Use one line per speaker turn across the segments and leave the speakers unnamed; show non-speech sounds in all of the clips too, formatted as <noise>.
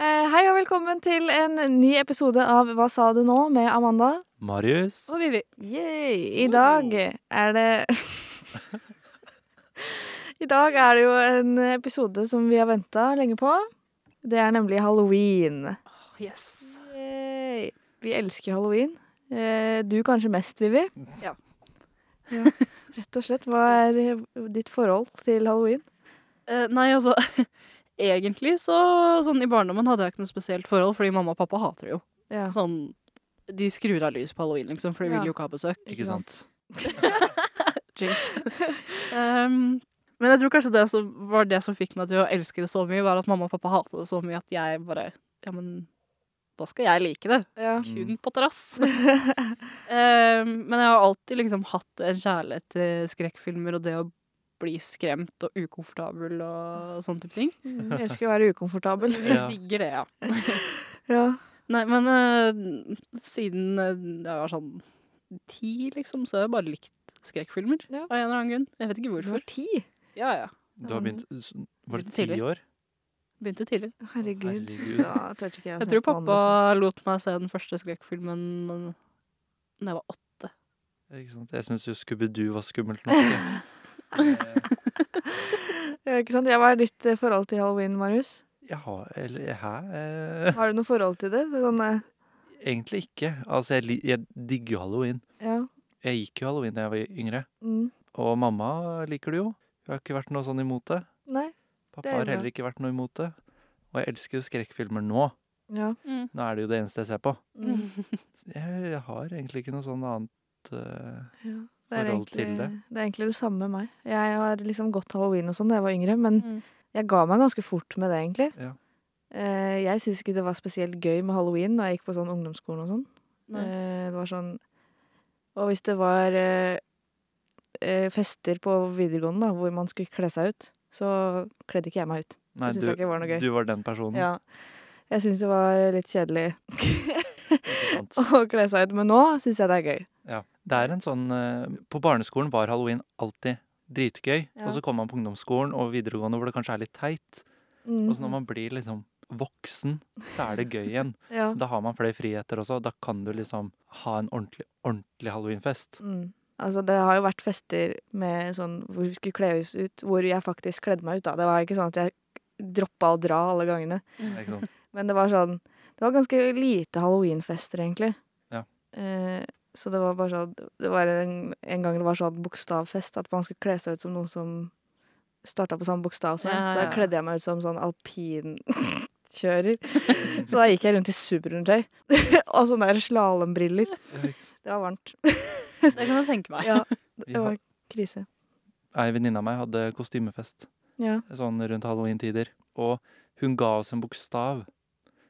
Eh, Hei og velkommen til en ny episode av Hva sa du nå? med Amanda.
Marius.
Og Vivi.
Yay! I dag er det <laughs> I dag er det jo en episode som vi har venta lenge på. Det er nemlig halloween.
Yes.
Yay! Vi elsker halloween. Eh, Du kanskje mest, Vivi?
Ja.
Ja, Rett og slett. Hva er ditt forhold til halloween?
Eh, nei, altså <laughs> Egentlig så sånn i barndommen hadde jeg ikke noe spesielt forhold, fordi mamma og pappa hater det jo.
Ja,
Sånn, De skrur av lys på halloween, liksom, for de
Ja.
vil jo ikke ha besøk.
Ikke sant.
<laughs> Jinx. <laughs> Ehm, men jeg tror kanskje det som var det som fikk meg til å elske det så mye, var at mamma og pappa hatet det så mye at jeg bare Ja, men da skal jeg like det.
Ja. <laughs>
Mm,
Kun på terrass. Ehm, men jeg har alltid liksom hatt en kjærlighet til skrekkfilmer og det å bli skremt og ukomfortabel og sånn type ting.
Mm, Jeg elsker å være ukomfortabel.
Jeg
Ja.
digger det, ja.
Ja.
Nei, men eh, siden eh, jeg var sånn ti, liksom, så har jeg bare likt skrekkfilmer.
Ja.
Av en eller annen grunn. Jeg vet ikke
Du var
hvorfor.
ti.
Ja, ja.
Du har begynt s- Var det ti
Litt tidlig.
år?
Begynte tidlig.
Herregud.
Herregud.
Da turte ikke jeg å
Jeg
se
tror
på andre
pappa
som-
lot meg se den første skrekkfilmen da jeg var åtte.
Ikke sant? Jeg syns jo Scooby-Doo var skummelt nok. jeg.
<laughs>
Eh,
Ja, ikke sant? Jeg var ditt eh, forhold til halloween, Marius.
Jeg har Eller hæ? Eh,
Har du noe forhold til det? Sånn, eh,
Egentlig ikke. Altså, jeg, li- jeg digger jo halloween.
ja.
Jeg gikk jo halloween da jeg var yngre.
Mm.
Og mamma liker det jo. Hun har ikke vært noe sånn imot det.
Nei. Det
Pappa
er
har
bra.
heller ikke vært noe imot det. Og jeg elsker jo skrekkfilmer nå.
Ja.
Nå er det jo det eneste jeg ser på.
Mm.
Så Jeg jeg har egentlig ikke noe sånn annet eh,
ja. Det, er
Forhold til
egentlig, det.
det?
er egentlig det samme med meg. Jeg har liksom gått halloween og sånn da jeg var yngre, men
Mm.
jeg ga meg ganske fort med det, egentlig.
Ja.
Eh, jeg syns ikke det var spesielt gøy med halloween da jeg gikk på sånn ungdomsskolen og sånn.
Nei.
Eh, det var sånn Og hvis det var eh, eh, fester på videregående da, hvor man skulle kle seg ut, så kledde ikke jeg meg ut.
Nei,
Jeg synes ikke det var noe gøy.
du var den personen.
Ja. Jeg syns det var litt kjedelig <laughs>
Ikke sant?
å kle seg ut, men nå syns jeg det er gøy.
Ja. Det er en sånn eh, På barneskolen var halloween alltid dritgøy.
Ja.
Og så kommer man på ungdomsskolen og videregående hvor det kanskje er litt teit.
Mm.
Og så når man blir liksom voksen, så er det gøy igjen.
ja.
Da har man flere friheter også. Da kan du liksom ha en ordentlig, ordentlig halloweenfest.
Mm. Altså, det har jo vært fester med sånn, hvor vi skulle kle oss ut, hvor jeg faktisk kledde meg ut. da. Det var ikke sånn at jeg droppa å dra alle gangene.
Ikke sant?
Men det var sånn Det var ganske lite halloweenfester, egentlig.
Ja.
Eh, så det var bare sånn Det var en, en gang det var sånn bokstavfest, at man skulle kle seg ut som noen som starta på samme bokstav som meg.
Ja,
Så da
ja.
kledde jeg meg ut som sånn alpinkjører. <laughs> så da gikk jeg rundt i superundertøy <laughs> og sånne der slalåmbriller. Det var varmt.
<laughs> Det kan jeg tenke meg.
Ja,
Vi
det
har-
var krise.
Ei venninne av meg hadde kostymefest
Ja.
sånn rundt halloween-tider. Og hun ga oss en bokstav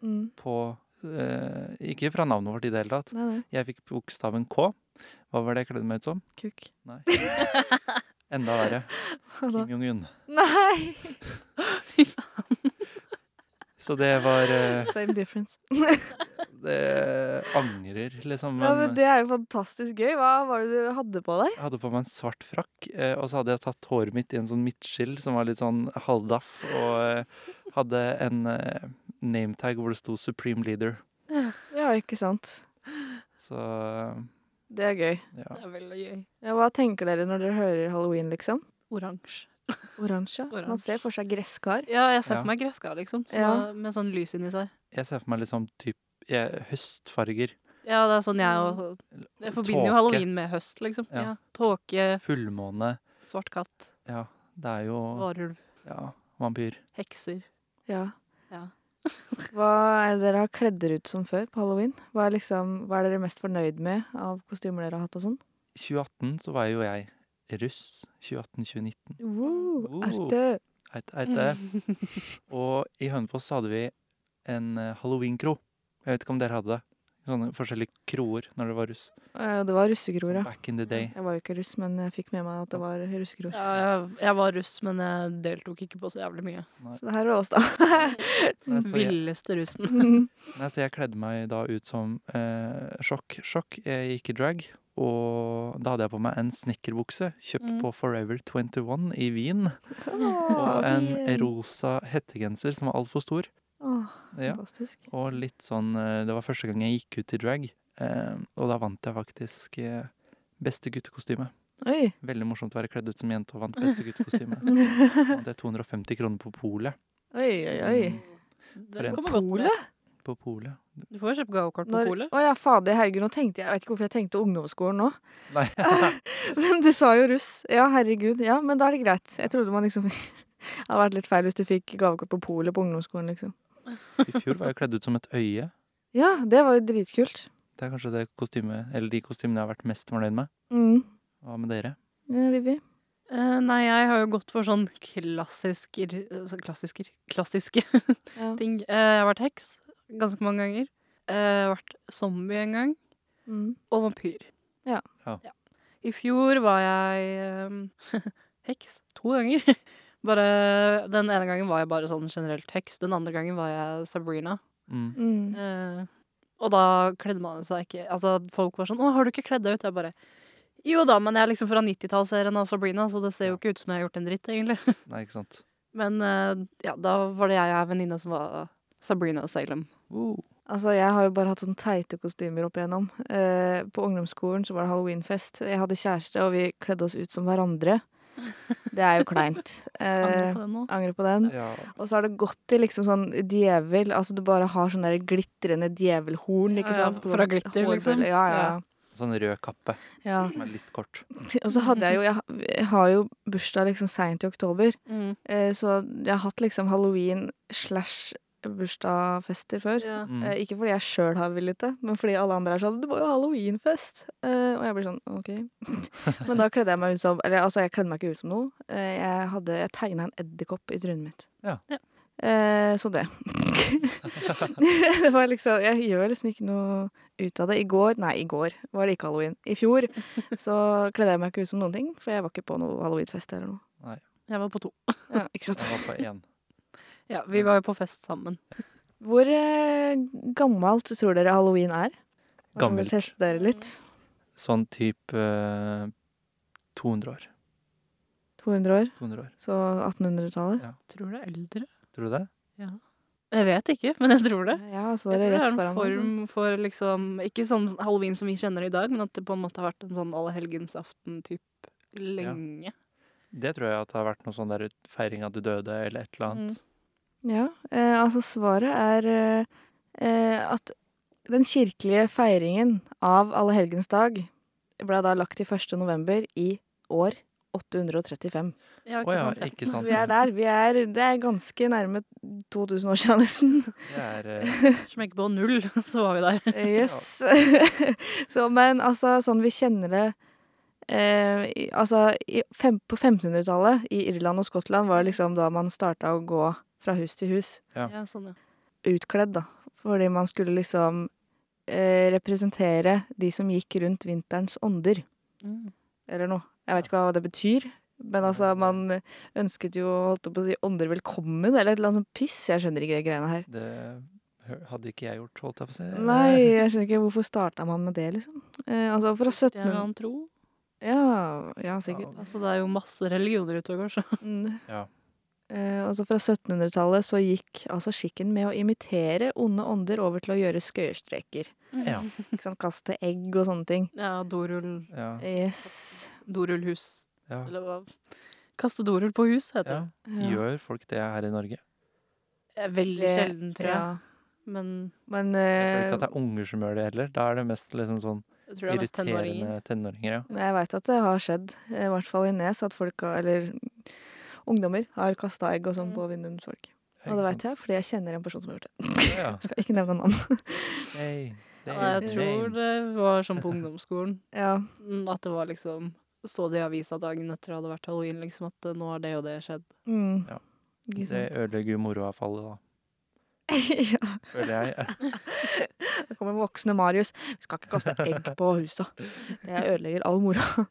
Mm.
på eh, Ikke fra navnet vårt i det hele tatt.
Nei, nei.
Jeg fikk bokstaven K. Hva var det jeg kledde meg ut som?
Kuk.
Nei. Enda
<laughs>
verre. Kim Jong-un.
Nei!
Så det var eh,
Same difference.
Det angrer, liksom. Men,
Ja, men det er jo fantastisk gøy. Hva var det du hadde på deg?
jeg hadde på meg en svart frakk, eh, og så hadde jeg tatt håret mitt i en sånn midtskill som var litt sånn halvdaff, og eh, hadde en eh, nametag hvor det sto 'Supreme Leader'.
Ja, ikke sant.
Så eh,
Det er gøy.
ja.
Det er veldig gøy.
Ja, hva tenker dere når dere hører halloween, liksom?
Oransje.
Oransje.
Oransje.
Man ser for seg gresskar.
Ja, jeg ser
Ja.
for meg gresskar, liksom. Sånn,
Ja.
Med sånn lys inni seg.
Jeg ser for meg liksom typ jeg, høstfarger.
Ja, det er sånn jeg og Jeg forbinder
Tåke.
jo halloween med høst, liksom.
Ja.
Ja. Tåke,
Fullmåne.
svart katt,
Ja, det er jo
varulv,
ja, vampyr.
hekser.
Ja.
Ja.
<laughs> Hva er det dere har kledd dere ut som før på halloween? Hva er, liksom, hva er dere mest fornøyd med av kostymer dere har hatt og sånn?
2018 så var jo jeg russ. 2018-2019.
Wow,
Oh.
arte.
Eit, eite. Og i Hønefoss så hadde vi en eh, halloweenkro. Jeg vet ikke om dere hadde det. Ikke sånne forskjellige kroer når det var russ.
Eh, Det var russegror, ja.
Back in the
<laughs>
day.
Jeg var jo ikke russ, men jeg fikk med meg at det var russegror.
Ja, jeg, jeg var russ, men jeg deltok ikke på så jævlig mye.
Så det her er Ålestad. <laughs>
Nei,
Den
så jeg-
villeste russen.
Nei, så jeg kledde meg da ut som eh, sjokk. Sjokk, jeg gikk i drag. Og da hadde jeg på meg en snekkerbukse kjøpt
Mm.
på Forever 21 i Wien.
Åh,
Og en
fin.
rosa hettegenser som var altfor stor.
Åh,
Ja.
Fantastisk.
Og litt sånn eh, Det var første gang jeg gikk ut i drag, eh, og da vant jeg faktisk eh, beste guttekostyme.
Oi.
Veldig morsomt å være kledd ut som jente og vant beste
<laughs>
guttekostyme. Og det er 250 kroner på polet.
Oi, oi, oi.
Mm,
Det
en
kommer godt med.
skole?
På polet.
Du får jo kjøpt gavekort på
Når,
polet.
å ja, fader, herregud, nå tenkte jeg Jeg vet ikke hvorfor jeg tenkte ungdomsskolen nå.
Nei.
<laughs> Men du sa jo russ. Ja, herregud. Ja, men da er det greit. Jeg trodde man liksom <laughs> Det hadde vært litt feil hvis du fikk gavekort på polet på ungdomsskolen, liksom.
I fjor var jeg kledd ut som et øye.
Ja, det var jo dritkult.
Det er kanskje det kostyme, eller de kostymene jeg har vært mest fornøyd med.
Mm.
Hva med dere?
Ja, Vivi.
Eh, nei, jeg har jo gått for sånn klassisker altså Klassisker? Klassiske <laughs>
Ja.
ting. Eh, jeg har vært heks ganske mange ganger. Eh, jeg har vært zombie en gang.
Mm.
Og vampyr.
Ja.
Ja.
I fjor var jeg eh, <laughs> heks to ganger. <laughs> Bare, den ene gangen var jeg bare sånn generelt heks. Den andre gangen var jeg Sabrina.
Mm.
Mm.
Eh, og da kledde man seg ikke Altså, folk var sånn 'Å, har du ikke kledd deg ut?' Jeg bare Jo da, men jeg er liksom fra 90-tallsserien av Sabrina, så det ser jo ikke ut som jeg har gjort en dritt, egentlig. <laughs>
Nei, ikke sant.
Men eh, ja, da var det jeg og ei venninne som var Sabrina Salem.
Wow.
Altså, jeg har jo bare hatt sånne teite kostymer opp igjennom. Eh, på ungdomsskolen så var det halloweenfest. Jeg hadde kjæreste, og vi kledde oss ut som hverandre. Det er jo kleint.
<laughs> Angrer
Eh,
på det nå.
angrer på den.
Ja.
Og så har det gått til liksom sånn djevel. Altså du bare har sånn der glitrende djevelhorn,
Ja,
ikke
ja,
sant?
fra glitter,
Hårbølle.
liksom.
Ja, ja.
Sånn rød kappe
ja.
som er litt kort.
Og så hadde jeg jo Jeg, jeg har jo bursdag liksom seint i oktober,
Mm.
eh, så jeg har hatt liksom halloween slash bursdagsfester før.
Ja.
Mm.
Eh, ikke fordi jeg sjøl har villet det, men fordi alle andre er sånn 'Du må jo ha halloweenfest!' Eh, og jeg blir sånn OK. <laughs> men da kledde jeg meg ut som Eller altså, jeg kledde meg ikke ut som noe. Eh, jeg hadde, jeg tegna en edderkopp i trynet mitt.
Ja.
Ja.
Eh, så det. <laughs> det var liksom Jeg gjør liksom ikke noe ut av det. I går Nei, i går var det ikke halloween. I fjor så kledde jeg meg ikke ut som noen ting, for jeg var ikke på noe halloweenfest eller noe.
Jeg var på to.
Ja, ikke sant?
Jeg var på én.
Ja, vi var jo på fest sammen.
Hvor eh, gammelt tror dere halloween er? Bare sånn, vil
Gammelt.
Teste dere litt.
Sånn type eh, 200 år.
200 år?
200 år.
Så 1800-tallet?
Tror det er eldre.
Tror du det?
Jeg vet ikke, men jeg tror det.
Ja, så
Jeg
var det
tror det
rett
er en
foran meg. altså.
form for liksom Ikke sånn halloween som vi kjenner i dag, men at det på en måte har vært en sånn allehelgensaften-type lenge.
Det tror jeg at det har vært noe sånn der feiring av de døde eller et eller annet.
sånn. Ja, eh, altså svaret er eh, eh, at den kirkelige feiringen av Allehelgens dag ble da lagt til 1. november i år 835.
Å
Ja, ikke
ja,
sant? Ja.
ikke sant.
<laughs>
Vi er der. Vi er, det er ganske nærme 2000 år siden nesten.
<laughs>
Det er, eh,
<laughs>
Smekk på null, <laughs> så var vi der.
Yes. <laughs> så, men altså, sånn vi kjenner det eh, i, Altså, i fem, på 1500-tallet i Irland og Skottland var det liksom da man starta å gå fra hus til hus.
Ja.
Ja, sånn, ja.
Utkledd, da. Fordi man skulle liksom eh, representere de som gikk rundt vinterens ånder,
Mm.
eller noe. Jeg vet ikke hva det betyr. Men altså, man ønsket jo holdt jeg på å si, ånder velkommen, eller et eller annet sånt piss. Jeg skjønner ikke de greiene her.
det hø- hadde ikke jeg gjort, holdt jeg på å si.
Nei, jeg skjønner ikke hvorfor starta man med det, liksom. Eh, altså, fra
Sikkert
1700
en eller annen tro.
Ja, ja sikkert.
Altså, det er jo masse religioner ute og går, så
Mm.
Ja.
Eh, altså fra 1700-tallet så gikk altså skikken med å imitere onde ånder over til å gjøre skøyestreker.
Ja.
Ikke sant? Kaste egg og sånne ting.
ja dorull,
Ja.
Yes.
dorullhus.
ja.
Eller hva? Kaste dorull på hus, heter
ja.
det.
Ja.
Gjør folk det her i Norge?
Eh, Veldig
Det-
sjelden, tror jeg.
Ja.
Men
Men
Jeg tror ikke
eh,
at det er unger som gjør det heller. Da er det mest liksom sånn
jeg tror det er mest tenåringer.
irriterende tenåringer. Ja.
men jeg veit at det har skjedd, eh, i hvert fall i Nes, at folk har, eller ungdommer har kasta egg og sånn
Mm.
på vinduens folk.
Ja,
Og det
ikke
veit jeg,
sant?
fordi jeg kjenner en person som har gjort det.
Ja.
Skal ikke nevne navn.
<laughs> Hey, they-
Ja, jeg
they-
tror det var sånn på ungdomsskolen.
Ja.
Mm, At det var liksom Så det i avisa dagen etter det hadde vært halloween, liksom, at eh, nå har det og det skjedd.
Mm.
Ja.
Ikke
Det
sant. <laughs>
ødelegger jo moroa for alle, da.
ja.
Føler jeg.
Det kommer voksne Marius. Vi skal ikke kaste egg på husa. Det ødelegger all moro. <laughs>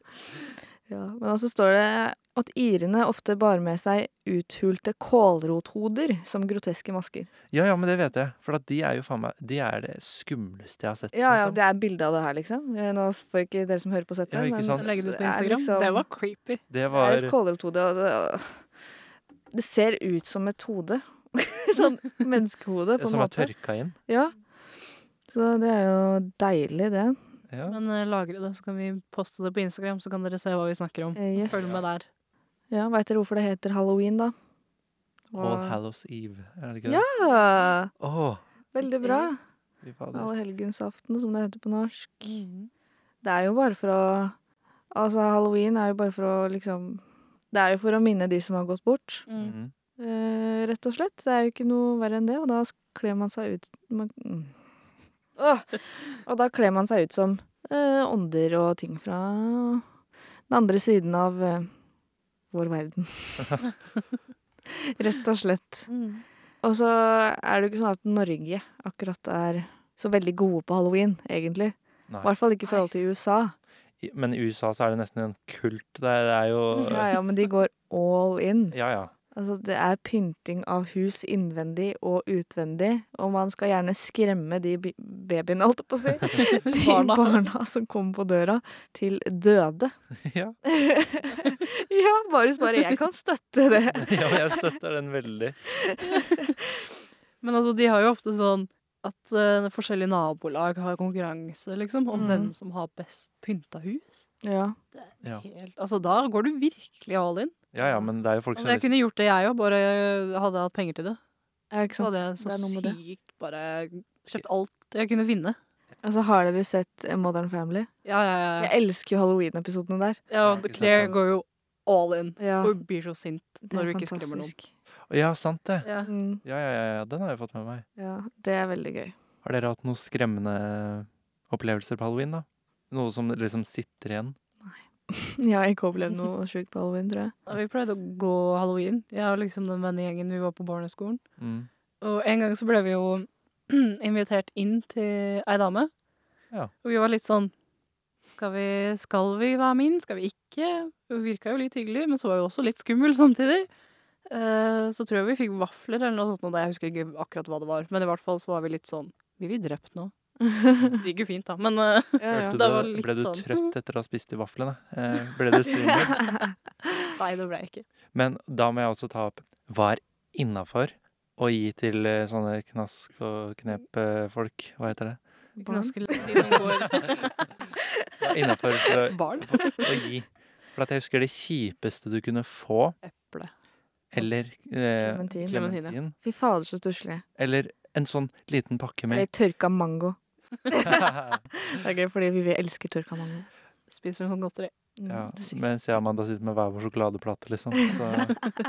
Ja, men også står det at irene ofte bar med seg uthulte kålrothoder som groteske masker.
<laughs> Ja, ja, men det vet jeg. For at de er jo faen meg De er det skumleste jeg har sett.
Ja, ja,
liksom.
det er bilde av det her, liksom. Eh, Nå får ikke dere som hører på sett
Ja,
det,
ikke sant.
Legge det ut på
er
Instagram.
liksom-
Det var
<laughs>
creepy.
det
Det er
var
et kålrothode. og det- altså. Det ser ut som et hode. <laughs> sånn menneskehode, på en
som er
måte.
tørka inn.
Ja. Så det er jo deilig, det.
Ja.
Men eh, lagre det, så kan vi poste det på Instagram, så kan dere se hva vi snakker om.
Eh, yes.
Følg med der.
Ja, Veit dere hvorfor det heter halloween, da?
All
Og-
Hallows Eve, er det ikke det?
Ja. Ja,
Åh,
Veldig bra.
fy fader.
Allehelgensaften, som det heter på norsk. Mm. Det er jo bare for å Altså, halloween er jo bare for å liksom Det er jo for å minne de som har gått bort.
Mm.
Mhm.
Eh, rett og slett. Det er jo ikke noe verre enn det, og da s- kler man seg ut man, mm. Åh! Og da kler man seg ut som eh, ånder og ting fra den andre siden av eh, vår verden. rett og slett. <laughs>
Mm.
Og så er det jo ikke sånn at Norge akkurat er så veldig gode på halloween, egentlig. I
Nei.
hvert fall ikke i forhold til USA.
I- Men i USA så er det nesten en kult. Det er, det er
<laughs>
jo
Ja, ja, men de går all in.
Ja, <laughs> ja.
Altså, det er pynting av hus innvendig og utvendig, og man skal gjerne skremme de bi- babyene, holdt jeg på å
<laughs>
si, de
<laughs> Barna.
barna. som kommer på døra, til døde.
<laughs>
ja.
<laughs> Ja, Marius bare 'jeg kan støtte
<laughs>
det'.
Ja, men jeg støtter den veldig.
Men altså, de har jo ofte sånn at eh, forskjellige nabolag har konkurranse, liksom, om
Mm.
hvem som har best pynta hus.
Ja.
Ja.
Helt, altså, da går du virkelig all in.
Ja, ja, men det er jo folk
Altså,
som
jeg kunne gjort det, jeg òg, bare eh, hadde jeg hatt penger til det.
ja, ikke
Så
sant.
hadde jeg
det er noe med
så
det.
sykt bare kjøpt alt jeg kunne finne.
Altså, har dere sett eh, Modern Family?
Ja, ja, ja.
Jeg elsker jo halloween-episodene der.
ja
Jeg har ikke
Claire
sett den.
går jo all in.
Ja,
Og blir så sint
det
når
er
du ikke skremmer noen.
fantastisk.
Ja, sant det.
Ja.
Mm,
Ja, ja, ja, ja, den har jeg fått med meg.
ja, det er veldig gøy. <laughs>
Har dere hatt noen skremmende opplevelser på halloween, da? Noe som liksom sitter igjen?
Jeg har ikke opplevd noe sjukt på halloween, tror jeg. <laughs>
Ja, Vi pleide å gå halloween. Jeg og liksom den vennegjengen vi var på barneskolen.
Mm.
Og en gang så ble vi jo <clears throat> invitert inn til ei dame.
Ja.
Og vi var litt sånn skal vi, skal vi være med inn? Skal vi ikke? Hun virka jo litt hyggelig, men så var hun også litt skummel samtidig. Eh, så tror jeg vi fikk vafler eller noe sånt. nå, Jeg husker ikke akkurat hva det var, men i hvert fall så var vi litt sånn Blir vi drept nå? Det gikk jo fint, da, men eh, <laughs>
Ja, ja. <laughs>
Følte
Det var
du,
litt
ble du
sånn.
trøtt etter å ha spist de vaflene? Eh, ble du
<laughs>
svimmel?
Nei, det ble jeg ikke.
Men da må jeg også ta opp hva er innafor å gi til eh, sånne knask og knep-folk. Hva heter det?
Barn?
Knaske litt de som <laughs> går
Innafor for, å-
<laughs> Barn?
for å gi. For at jeg husker det kjipeste du kunne få,
Eple.
eller
Eh,
eh,
Clementine.
klementin,
Fy fader, så stusslig.
eller en sånn liten pakke
Eller
med <laughs>
tørka mango. Det er gøy, fordi vi elsker tørka mango.
Spiser hun sånn godteri.
Mm,
Ja,
det er sykt.
mens jeg og Amanda sitter med hver vår sjokoladeplate, liksom. Så,
<laughs>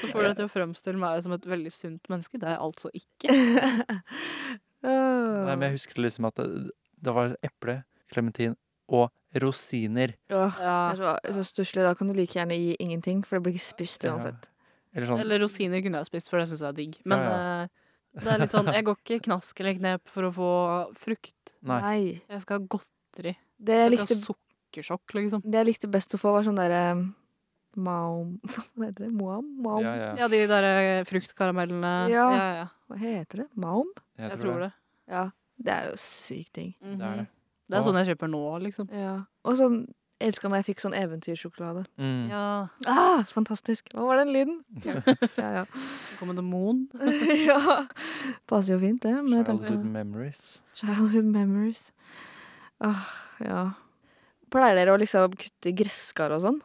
Så får du det til å fremstille meg som et veldig sunt menneske. Det er jeg altså ikke.
<laughs>
<laughs>
Åh.
nei, men jeg husker liksom at det, det var eple, klementin og rosiner.
Åh,
Ja.
det er så, så stusslig. Da kan du like gjerne gi ingenting, for det blir ikke spist
Ja.
uansett.
Eller sånn
Eller rosiner kunne jeg spist, for det syns jeg er digg. Men
Ja,
eh, det er litt sånn Jeg går ikke knask eller knep for å få frukt.
Nei.
Jeg skal ha godteri.
Det jeg,
Jeg skal
likte,
ha sukkersjokk, liksom.
det jeg likte best å få, var sånn derre Maum <laughs> Hva faen heter det? Moam? Maum?
Ja, ja.
Ja, de der eh, fruktkaramellene. Ja,
Ja.
ja. ja.
Hva heter det? Maum?
Jeg, tror det.
Ja. Det er jo sykt ting.
Mhm.
Det er det.
Det er sånn jeg kjøper nå, liksom.
Ja. Og sånn jeg Elska når jeg fikk sånn eventyrsjokolade.
Mm.
Mhm. Ja.
Ah, fantastisk. Hva var den
<laughs>
lyden? Ja, ja.
Kommer demon.
<laughs> ja. Passer jo fint, det. Med tanke på
Childhood memories.
Childhood memories. Åh, ja. Pleier dere å liksom kutte i gresskar og sånn?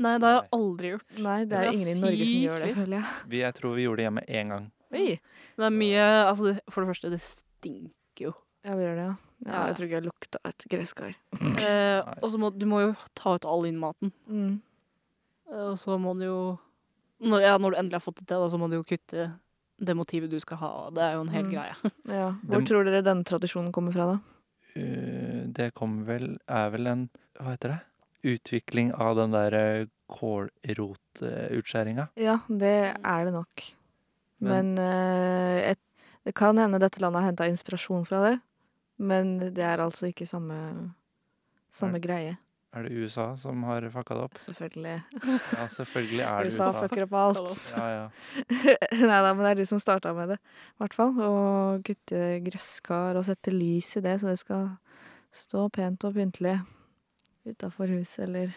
Nei, det har jeg aldri gjort.
Nei, det
Det
er
er
jo ingen i Norge som
sykt
gjør det,
trist.
føler jeg.
Vi, jeg tror vi gjorde det hjemme én gang.
Oi.
Det er mye Altså, det, for det første, det stinker jo.
Ja, det gjør det, ja. ja.
Ja.
Jeg tror ikke jeg lukta et gresskar.
Eh, og så må du må jo ta ut all innmaten.
Mm.
Eh, Og så må du jo når, ja, når du endelig har fått det til, da, så må du jo kutte det motivet du skal ha. og Det er jo en hel
Mm.
greie.
Ja. Hvor
Det-
tror dere denne tradisjonen kommer fra, da?
Uh, det kom vel Er vel en Hva heter det? Utvikling av den der eh, kålrotutskjæringa.
Ja, det er det nok. Men,
Men-
eh, et, det kan hende dette landet har henta inspirasjon fra det. Men det er altså ikke samme, samme greie.
Er det USA som har fucka det opp?
Selvfølgelig.
Ja,
<laughs>
selvfølgelig er det
USA
USA.
fucker opp alt.
Fucker
Ja, ja.
<laughs> Nei da, men det er du som starta med det, i hvert fall. Å kutte gresskar og sette lys i det, så det skal stå pent og pyntelig utafor huset, eller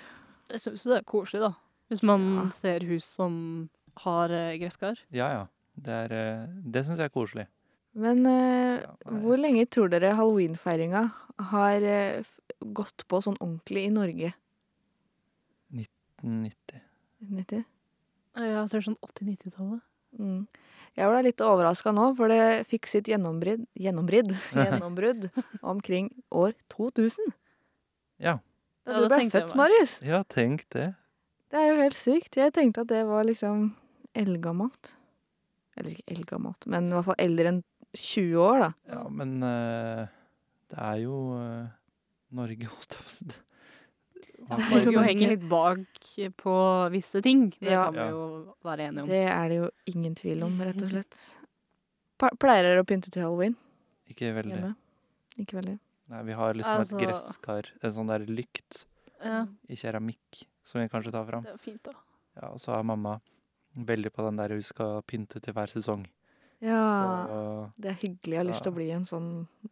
Jeg syns det er koselig, da. Hvis man
Ja.
ser hus som har eh, gresskar.
ja, ja. Det, er, eh, det syns jeg er koselig.
Men eh,
Ja, nei.
hvor lenge tror dere halloweenfeiringa har eh, f- gått på sånn ordentlig i Norge?
90.
90?
Jeg tror sånn 80-90-tallet.
Mm. Jeg ble litt overraska nå, for det fikk sitt gjennombrudd, gjennombrudd, gjennombrudd omkring år 2000.
Ja.
Da
Ja,
du
det
ble
tenkte jeg
født,
meg. <laughs>
Marius.
ja, tenk det.
Det er jo helt sykt. Jeg tenkte at det var liksom eldgammelt. Eller ikke eldgammelt, men i hvert fall eldre enn 20 år, da.
Ja, men eh, det er jo eh, Norge, <laughs> holdt jeg på å si.
Ja,
Hva-
Norge henger litt bak på visse ting. Det
Ja.
kan vi
Ja.
jo være enige om.
Det er det jo ingen tvil om, rett og slett. Pa- Pleier dere å pynte til halloween
Ikke veldig.
hjemme? Ikke veldig.
Nei, vi har liksom
Altså-
et gresskar, en sånn der lykt
Ja,
i keramikk som vi kanskje tar fram.
det er fint, da. <laughs>
Ja, og så er mamma veldig på den der hun skal pynte til hver sesong.
Ja.
Så
Det er hyggelig. Jeg har lyst til
Ja.
å bli en sånn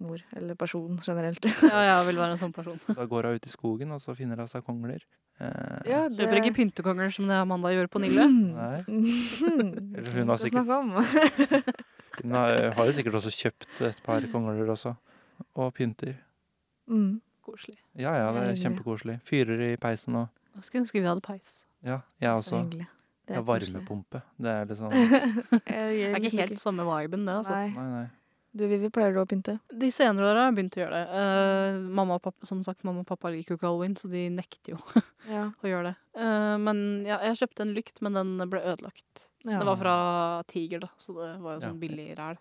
mor, eller person generelt.
Ja, jeg vil være en sånn person.
eh, da går hun ut i skogen, og så finner hun seg kongler. Eh,
<laughs> Ja, Hmm.
Kjøper ikke pyntekonger som det Mm. Amanda gjør på Nille.
Nei.
Eller
<laughs> Eller hun har sikkert- Hun har, har jo sikkert også kjøpt et par kongler også. Og pynter.
mm.
Koselig.
Ja ja, det er
Deilig.
kjempekoselig. Fyrer i peisen og
Jeg skulle ønske vi hadde peis.
Ja,
Så
jeg også.
hyggelig.
Det er
koselig.
varmepumpe. Det er
<laughs>
liksom
Jeg
Det
gjør
er
liksom
ikke helt samme viben, det. altså.
Nei.
Nei, nei.
Du, Vivi, pleier du å pynte?
De senere åra har jeg begynt å gjøre det. Eh, mamma og pappa, som sagt, mamma og pappa liker jo ikke halloween, så de nekter jo
Ja.
å gjøre det. Eh, men ja, jeg kjøpte en lykt, men den ble ødelagt.
ja.
Det var fra Tiger, da, så det var jo
Ja.
sånn billig ræl.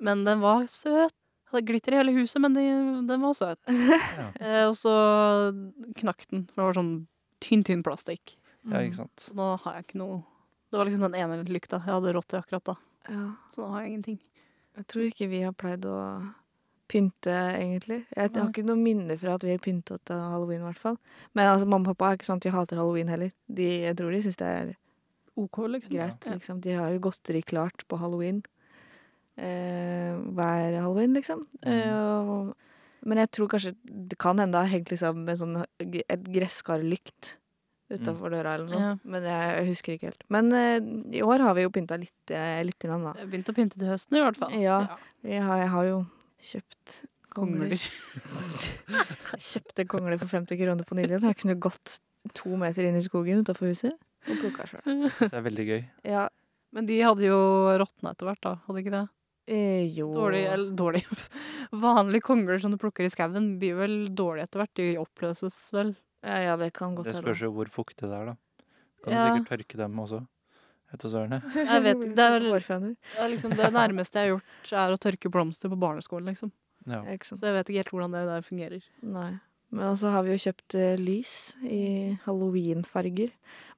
Men den var søt. Hadde glitter i hele huset, men de, den var <laughs> søt.
Ja.
Eh, og så knakk den, for det var sånn tynn, tynn plastikk.
ja,
Mm.
ikke sant.
Så nå har jeg ikke noe Det var liksom den ene lykta jeg hadde råd til akkurat da.
Ja.
Så nå har jeg ingenting.
Jeg tror ikke vi har pleid å pynte, egentlig. Jeg
Nei.
har ikke noe minne fra at vi har pyntet til halloween, i hvert fall. Men altså, mamma og pappa er ikke sånn at de hater halloween heller. De, jeg tror de syns det er
OK, liksom.
greit,
Ja.
liksom. De har jo godteri klart på halloween. Eh, hver halloween, liksom.
Mm.
Eh, og, men jeg tror kanskje det kan hende det har hengt liksom en sånn, g- et gresskarlykt
Mm.
utafor døra eller noe sånt. Men jeg husker ikke helt. Men eh, i år har vi jo pynta litt, eh, litt grann, da.
Jeg begynte å pynte til høsten i hvert fall.
Ja. Jeg har, jeg har jo kjøpt
Kongler.
Jeg <laughs> Kjøpte kongler for 50 kroner på Nilien. og Jeg kunne gått to meter inn i skogen utafor huset og plukka sjøl.
Det er veldig gøy.
Ja,
Men de hadde jo råtna etter hvert, da. Hadde ikke det?
eh, jo
Dårlig, eller dårlig <laughs> Vanlige kongler som du plukker i skauen, blir vel dårlige etter hvert. De oppløses vel.
Ja, ja, det kan godt
Det
hende.
spørs jo hvor fuktig det er, da. Kan
Ja.
du sikkert tørke dem også. Etter sørene.
Jeg vet ikke, det er vel-
Hårføner.
Det, er liksom det nærmeste jeg har gjort, er å tørke blomster på barneskolen, liksom.
Ja.
Ja, ikke sant.
Så jeg vet ikke helt hvordan det der fungerer.
Nei. Men så har vi jo kjøpt eh, lys i halloweenfarger.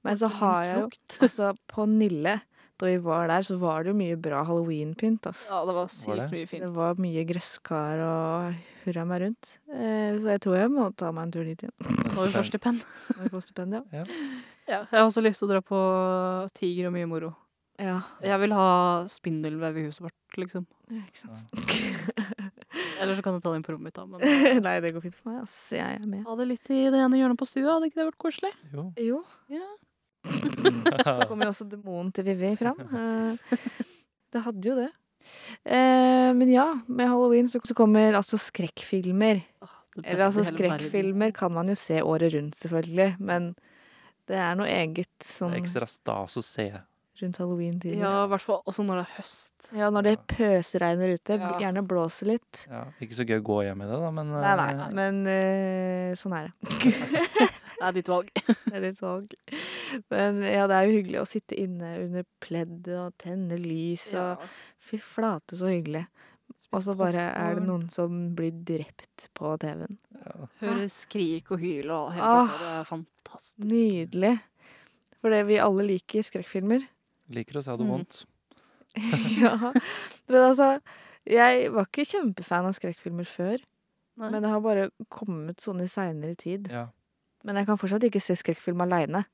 Men så har jeg jo <laughs> altså, På Nille, da vi var der, så var det jo mye bra halloweenpynt, ass.
Ja, det var
Var
sykt
det?
mye
Det
fint.
var mye gresskar og hurra meg rundt. Eh, så jeg tror jeg må ta meg en tur dit igjen.
Når vi får stipend.
Når vi får stipend, ja.
Ja, jeg har også lyst til å dra på Tiger og mye moro.
Ja,
Jeg vil ha spindelvev i huset vårt, liksom.
ja, ikke sant.
Eller så kan jeg ta den på rommet mitt, da. Men
<laughs> Nei, det går fint for meg, ass. Jeg er med.
ha det litt i det ene hjørnet på stua, hadde ikke det vært koselig?
Jo. <laughs>
Jo, så
Ja.
kommer jo også demonen til Vivi fram. Eh, det hadde jo det. Eh, men ja, med halloween så så kommer altså skrekkfilmer. Eller altså, skrekkfilmer kan man jo se året rundt, selvfølgelig. Men det er noe eget sånn
Ekstra stas å se.
rundt halloween-tiden.
Ja, i hvert fall også når det er høst.
Ja, når det pøsregner ute. b-
Ja.
Gjerne blåser litt.
Ja. Ikke så gøy å gå hjem i det, da, men
Nei, nei,
eh,
men eh, sånn er det.
Det er ditt valg.
Det <laughs> er ditt valg. Men ja, det er jo hyggelig å sitte inne under pleddet og tenne lys og Fy flate, så hyggelig. Og så bare er det noen som blir drept på TV-en.
Hører skrik og hyl og hele
Ah.
pakka. Det er fantastisk.
Nydelig. Fordi vi alle
<laughs>
liker skrekkfilmer. <laughs>
liker å se det
Mm.
vondt.
ja. Men altså, Jeg var ikke kjempefan av skrekkfilmer før,
Nei.
men det har bare kommet sånn i seinere tid.
Ja.
Men jeg kan fortsatt ikke se skrekkfilm aleine.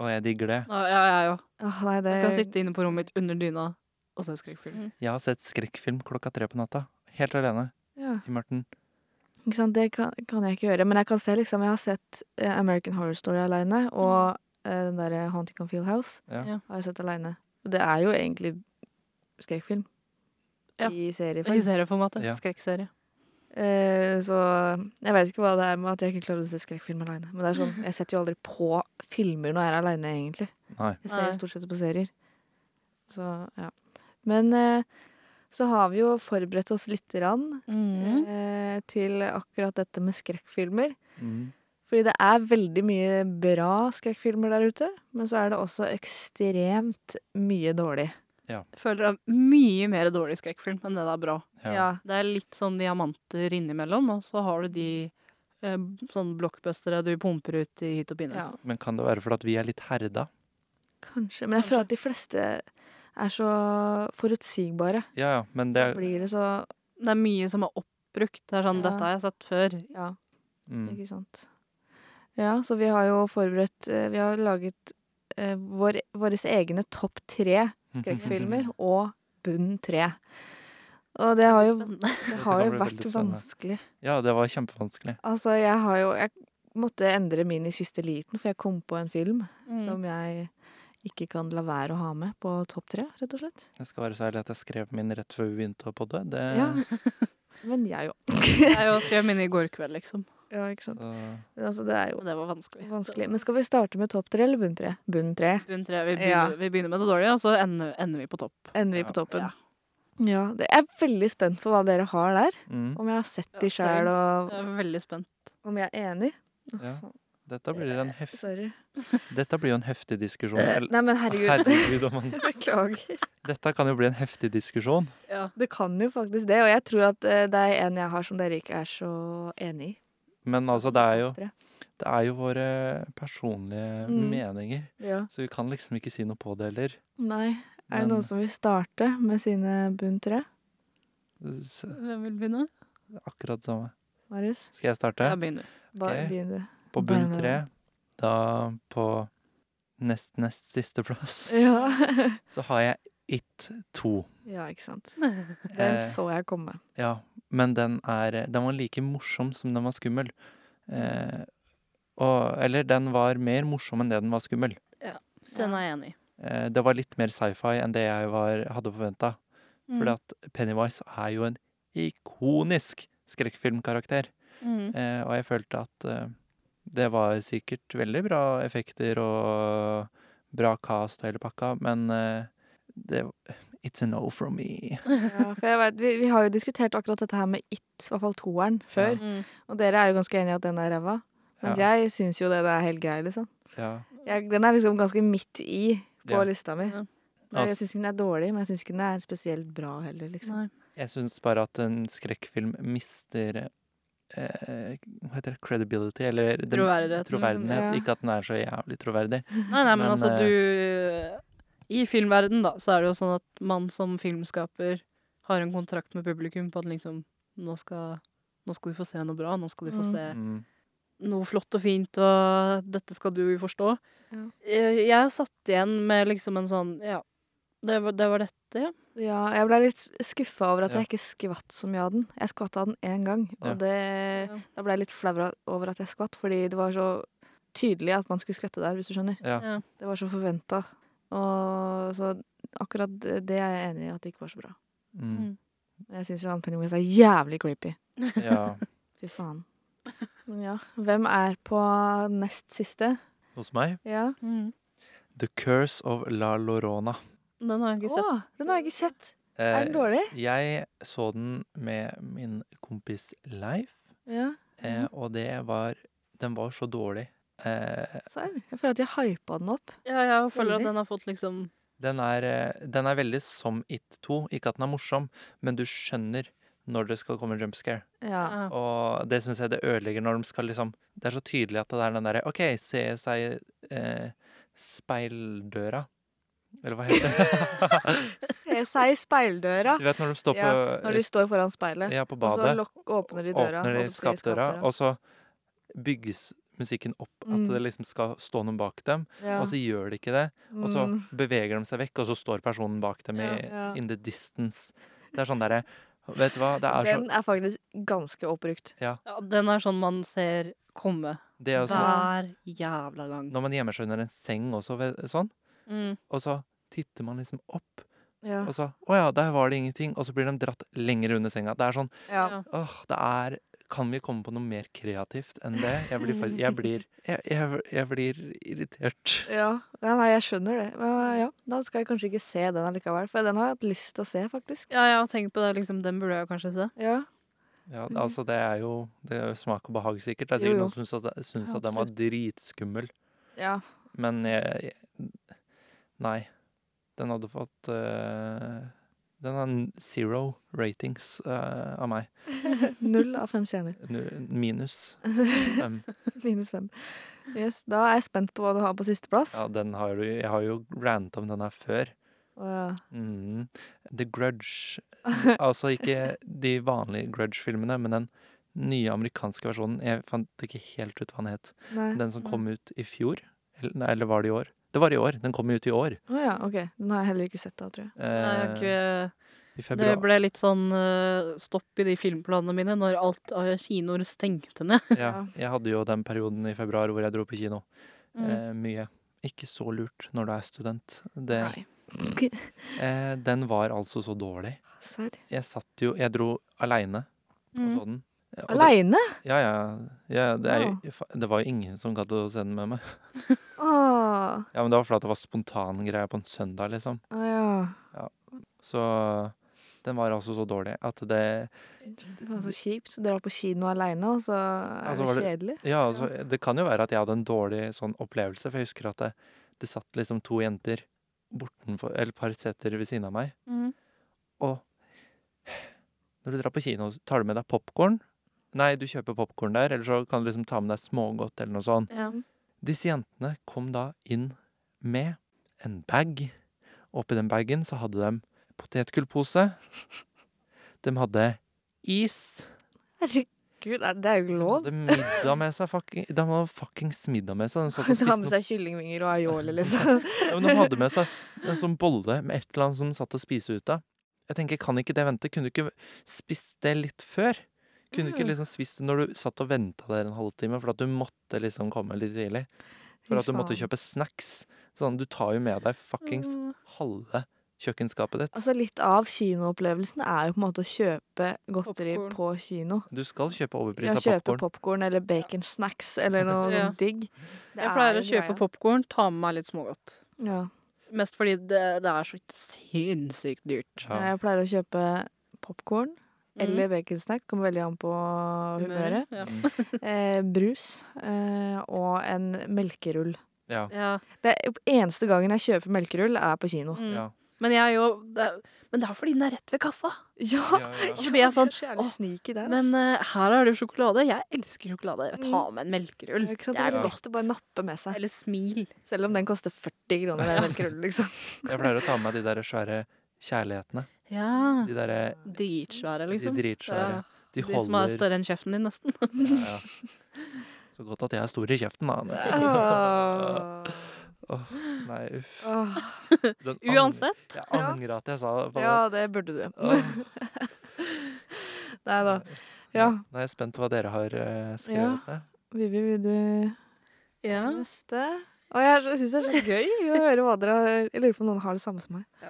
Og jeg digger det.
Ja, jeg er jo.
Åh, nei, det
Jeg kan sitte inne på rommet mitt under dyna og se skrekkfilm.
Mm.
Jeg har sett skrekkfilm klokka tre på natta. Helt alene
ja,
i mørten.
ikke sant? Det kan, kan jeg ikke gjøre. Men jeg kan se liksom, jeg har sett eh, American Horror Story aleine, og eh, den derre Haunting of Hill House
Ja.
Ja.
har jeg sett aleine. Og det er jo egentlig skrekkfilm.
Ja.
I
I
serieform.
serieformatet.
Ja.
Skrekkserie.
Eh, så jeg vet ikke hva det er med at jeg ikke klarer å se skrekkfilm aleine. Men det er sånn, jeg setter jo aldri på filmer når jeg er aleine, egentlig.
Nei.
Jeg ser
Nei.
jo stort sett på serier. Så, ja. Men eh, så har vi jo forberedt oss lite grann
Mm.
eh, til akkurat dette med skrekkfilmer.
Mm.
Fordi det er veldig mye bra skrekkfilmer der ute, men så er det også ekstremt mye dårlig.
Jeg Eh, føler det er mye mer dårlig skrekkfilm enn det det er bra.
Ja.
Det er litt sånn diamanter innimellom, og så har du de eh, sånn blockbustere du pumper ut i hytt og pinne.
Ja,
Men kan det være fordi at vi er litt herda?
kanskje. Men jeg føler at de fleste er så forutsigbare.
Ja, ja. Men det
Da
er
blir det så
Det er mye som er oppbrukt. Det er
Ja.
sånn, Dette har jeg sett før.
Ja.
mm.
Ikke sant. Ja, så vi har jo forberedt eh, Vi har laget eh, vår, våre egne topp tre skrekkfilmer
<laughs>
og bunn tre. Og det har jo,
Spennende.
det
Dette
har
kan
jo
bli
vært
veldig spennende.
vanskelig.
ja, det var kjempevanskelig.
Altså, jeg har jo Jeg måtte endre min i siste liten, for jeg kom på en film som jeg ikke kan la være å ha med på topp tre, rett og slett.
Jeg skal være så ærlig at jeg skrev min rett før vi begynte å podde. Det,
Ja. Men jeg òg.
Jeg jo skrev mine i går kveld, liksom.
Ja, ikke sant.
så-
Altså, det er jo
Og det var vanskelig.
vanskelig. Men skal vi starte med topp tre eller bunn tre? Bunn tre.
Bunn tre. Vi
Ja.
begynner, vi begynner med det dårlige, og så ender, ender vi på topp.
Ender vi
Ja.
på toppen.
Ja.
Ja, det jeg er veldig spent på hva dere har der.
mm,
Om jeg har sett
Ja,
de sjøl, og
Jeg er veldig spent.
om jeg er enig. Å,
Ja.
faen,
dette, blir en hef,
Sorry.
dette blir jo en heftig diskusjon. Eller-
Nei, men <laughs> herregud.
Herregud, om man,
Beklager.
dette kan jo bli en heftig diskusjon.
Ja.
Det kan jo faktisk det, og jeg tror at eh, det er en jeg har som dere ikke er så enig i.
Men altså, det er jo,
Topp tre.
det er jo våre personlige
Mm.
meninger.
ja.
Så vi kan liksom ikke si noe på det heller.
Nei. Er det
Men-
noen som vil starte med sine bunn tre?
S-
Hvem vil begynne?
Akkurat samme.
Marius?
Skal jeg starte?
Jeg begynner.
Bare
Ok.
begynn du.
På
Bare
bunn
det.
tre, da på nest nest siste plass,
Ja.
så har jeg It 2.
<laughs> ja, ikke sant. Den
Eh,
så jeg komme.
Ja, men den, er, den var like morsom som den var skummel. Eh, og, eller den var mer morsom enn det den var skummel.
Den er jeg enig i.
Eh, det var litt mer sci-fi enn det jeg var, hadde forventa.
Mm.
Mm.
Fordi at Pennywise er jo en ikonisk skrekkfilmkarakter.
Mm.
Eh, og jeg følte at eh, det var sikkert veldig bra effekter og bra cast og hele pakka, men eh, det It's a no from me.
Ja, for jeg vet, vi, vi har jo diskutert akkurat dette her med It, i hvert fall toeren, før.
Mm.
Og dere er jo ganske enige i at den er ræva. Mens
Ja,
jeg syns jo den er helt grei, liksom.
ja.
Jeg, den er liksom ganske midt i på
Ja.
lista mi.
Ja.
Nei,
Altså-
Jeg syns ikke den er dårlig, men jeg syns ikke den er spesielt bra heller, liksom.
Nei.
Jeg syns bare at en skrekkfilm mister eh, Hva heter det? Credibility? Eller den-
Troverdigheten, liksom.
troverdighet.
Ja.
Ikke at den er så jævlig troverdig.
Nei, nei, men,
Men,
altså
eh,
du I filmverden da, så er det jo sånn at man som filmskaper har en kontrakt med publikum på at liksom nå skal, nå skal du få se noe bra, nå skal du få
Mm.
se
Mm.
noe flott og fint, og dette skal du forstå.
Ja.
Jeg, jeg satt igjen med liksom en sånn Ja, det var, det var dette, ja.
Ja, jeg ble litt skuffa over at
Ja.
jeg ikke skvatt så mye av den. Jeg skvatt av den én gang, og
Ja.
det,
Eh,
da ble jeg litt flau over at jeg skvatt, fordi det var så tydelig at man skulle skvette der, hvis du skjønner.
Ja.
Ja.
Det var så forventa. Og så akkurat det det er jeg enig i at det ikke var så bra.
Mm.
Men jeg syns jo han Pennywise er jævlig creepy.
ja.
Fy faen. Men ja, hvem er på nest siste?
<laughs> Hos meg
Ja.
Mm.
The Curse of La Lorona.
Den har jeg ikke
Å,
sett.
den har jeg ikke sett. Er den
Eh,
dårlig?
jeg så den med min kompis Leif,
Ja,
eh,
Mhm.
og det var Den var så dårlig. Eh,
serr. Jeg føler at jeg hypa den opp.
Ja, jeg føler
Veldig.
at den har fått liksom
den, er, eh, den er veldig som It 2. Ikke at den er morsom, men du skjønner når det skal komme jump scare.
Ja.
ja.
Og det syns jeg det ødelegger når de skal liksom Det er så tydelig at det er den derre OK, se seg eh, speildøra. Eller hva heter det?
<laughs> Se seg i speildøra.
Du vet når de står på,
Ja, Når de står foran speilet.
ja, på
Og så
badet,
lok- åpner de døra.
åpner de
holdt jeg på å si,
skapdøra, og så bygges musikken opp at
Mm.
det liksom skal stå noen bak dem,
Ja.
og så gjør de ikke det. Og så
Mm.
beveger de seg vekk, og så står personen bak dem i,
Ja, ja.
in the distance. Det er sånn derre Vet du hva, det er
Den
sånn
er faktisk ganske oppbrukt.
Ja, den er sånn man ser komme
Det er også
hver jævla gang.
når man gjemmer seg under en seng også, ve- sånn,
Mm.
og så titter man liksom opp,
Ja.
og så Å ja, der var det ingenting. Og så blir de dratt lenger under senga. Det er sånn
ja.
Ja.
Åh, det er Kan vi komme på noe mer kreativt enn det? Jeg blir, fakt- jeg blir, jeg, jeg, jeg blir irritert.
Ja, ja nei, jeg skjønner det. Men eh, ja, da skal jeg kanskje ikke se den allikevel, for den har jeg hatt lyst til å se, faktisk.
Ja, jeg har tenkt på det. liksom, Den burde jeg kanskje se.
Ja,
Ja,
Mhm.
altså det er jo det er jo smak og behag, sikkert. Det er
Jo,
sikkert
jo.
noen som syns at, syns
Ja,
at den var dritskummel.
ja.
Men jeg, jeg Nei. Den hadde fått eh, Den har n- zero ratings eh, av meg.
Null av fem stjerner. <laughs>
Nu- Minus fem.
Minus fem. Yes, da er jeg spent på hva du har på sisteplass.
Ja, den har du Jeg har jo ranta om den her før.
Å, ja.
Mm. The Grudge. Altså ikke de vanlige Grudge-filmene, men den nye amerikanske versjonen. Jeg fant ikke helt ut hva den het.
Nei.
Den som
Mm.
kom ut i fjor? Eller, nei, eller var det i år? Det var i år. Den kom ut i år.
Å ja, ok. Den har jeg heller ikke sett da, tror jeg.
Jeg har
eh,
ikke-
I
Det
februar.
ble litt sånn eh, stopp i de filmplanene mine når alt av kinoer stengte ned.
Ja,
Ja.
jeg hadde jo den perioden i februar hvor jeg dro på kino.
Mm.
Eh, mye. Ikke så lurt når du er student. Det,
Nei.
eh, den var altså så dårlig.
Serr.
Jeg satt jo Jeg dro aleine og
Mm.
så den. Eh, og det-
Aleine?
Ja, ja. ja det, er, jo- fa- det var jo ingen som gadd å se den med meg.
Å
Ja, Men det var fordi det var spontangreier på en søndag, liksom.
å ja.
Så den var altså så dårlig at det
Det var så kjipt. Dra på kino aleine, og så er
Ja, så
det
var det-
kjedelig.
Ja, altså, det kan jo være at jeg hadde en dårlig sånn opplevelse, for jeg husker at det, det satt liksom to jenter bortenfor, eller et par seter ved siden av meg,
Mm.
og når du drar på kino, så tar du med deg popcorn. Nei, du kjøper popcorn der, eller så kan du liksom ta med deg smågodt eller noe sånt.
Ja.
Disse jentene kom da inn med en bag. Oppi den bagen så hadde de potetgullpose. De hadde is.
Herregud, er- det er jo ikke
De
lov.
hadde middag med seg. Fucking, de hadde fuckings middag med seg. De
<laughs>
satt og
Ta med
spiste
seg kyllingvinger og aioli, liksom.
Ja, men de hadde med seg en sånn bolle med et eller annet som satt og spiste ut av. Jeg tenker, kan ikke det vente? Kunne du ikke spist det litt før? Kunne du ikke
Mm.
liksom spist det når du satt og venta der en halvtime for at du måtte liksom komme litt tidlig? For at du måtte kjøpe snacks? Sånn, du tar jo med deg fuckings
Mm.
halve kjøkkenskapet ditt.
Altså Litt av kinoopplevelsen er jo på en måte å kjøpe godteri
Popcorn.
på kino.
Du skal kjøpe
Ja,
overprisa
kjøpe
popkorn.
popkorn eller baconsnacks eller noe
Ja.
sånt digg. Det
Jeg pleier
er
å kjøpe
greia.
popkorn, ta med meg litt smågodt.
Ja.
Mest fordi det, det er så sinnssykt dyrt.
Nei,
Ja.
Jeg pleier å kjøpe popkorn
Mm.
eller baconsnack, kommer veldig an på humøret.
Ja.
Eh, brus eh, og en melkerull.
Ja.
Ja.
Det er, eneste gangen jeg kjøper melkerull, er på kino.
Mm.
Ja.
Men jeg er jo det, er- Men det er fordi den er rett ved kassa.
Ja!
Ja, ja.
Så blir jeg
<laughs>
sånn,
så jævlig
«Åh,
sneaky der,
Men
ass.
eh, her har du sjokolade. Jeg elsker sjokolade. Jeg tar med en melkerull.
Mm. Ja, ikke sant?
eh, Det er
Ja.
godt.
å bare nappe med seg.
Eller smil.
Selv om den koster 40 kroner, den melkerullen, liksom.
Jeg pleier å ta med meg de der svære kjærlighetene.
Ja.
De derre
Dritsvære,
de
liksom.
dritsvære.
Ja.
De
De som er
holder
større enn kjeften din, nesten.
Ja, ja.
<laughs>
Så godt at jeg er stor i kjeften, da. Åh, nei, uff.
Åh.
Den ang-
Uansett.
Jeg angrer at jeg sa det. på
Ja, det burde du.
det.
<laughs>
Åh,
Nei da.
nei.
Ja.
Nå er jeg spent på hva dere har eh,
Ja.
skrevet ned.
Vivi, vil du
Ja.
neste? Å, jeg syns det er så <laughs> gøy å høre hva dere har Jeg lurer på om noen har det samme som meg.
Ja.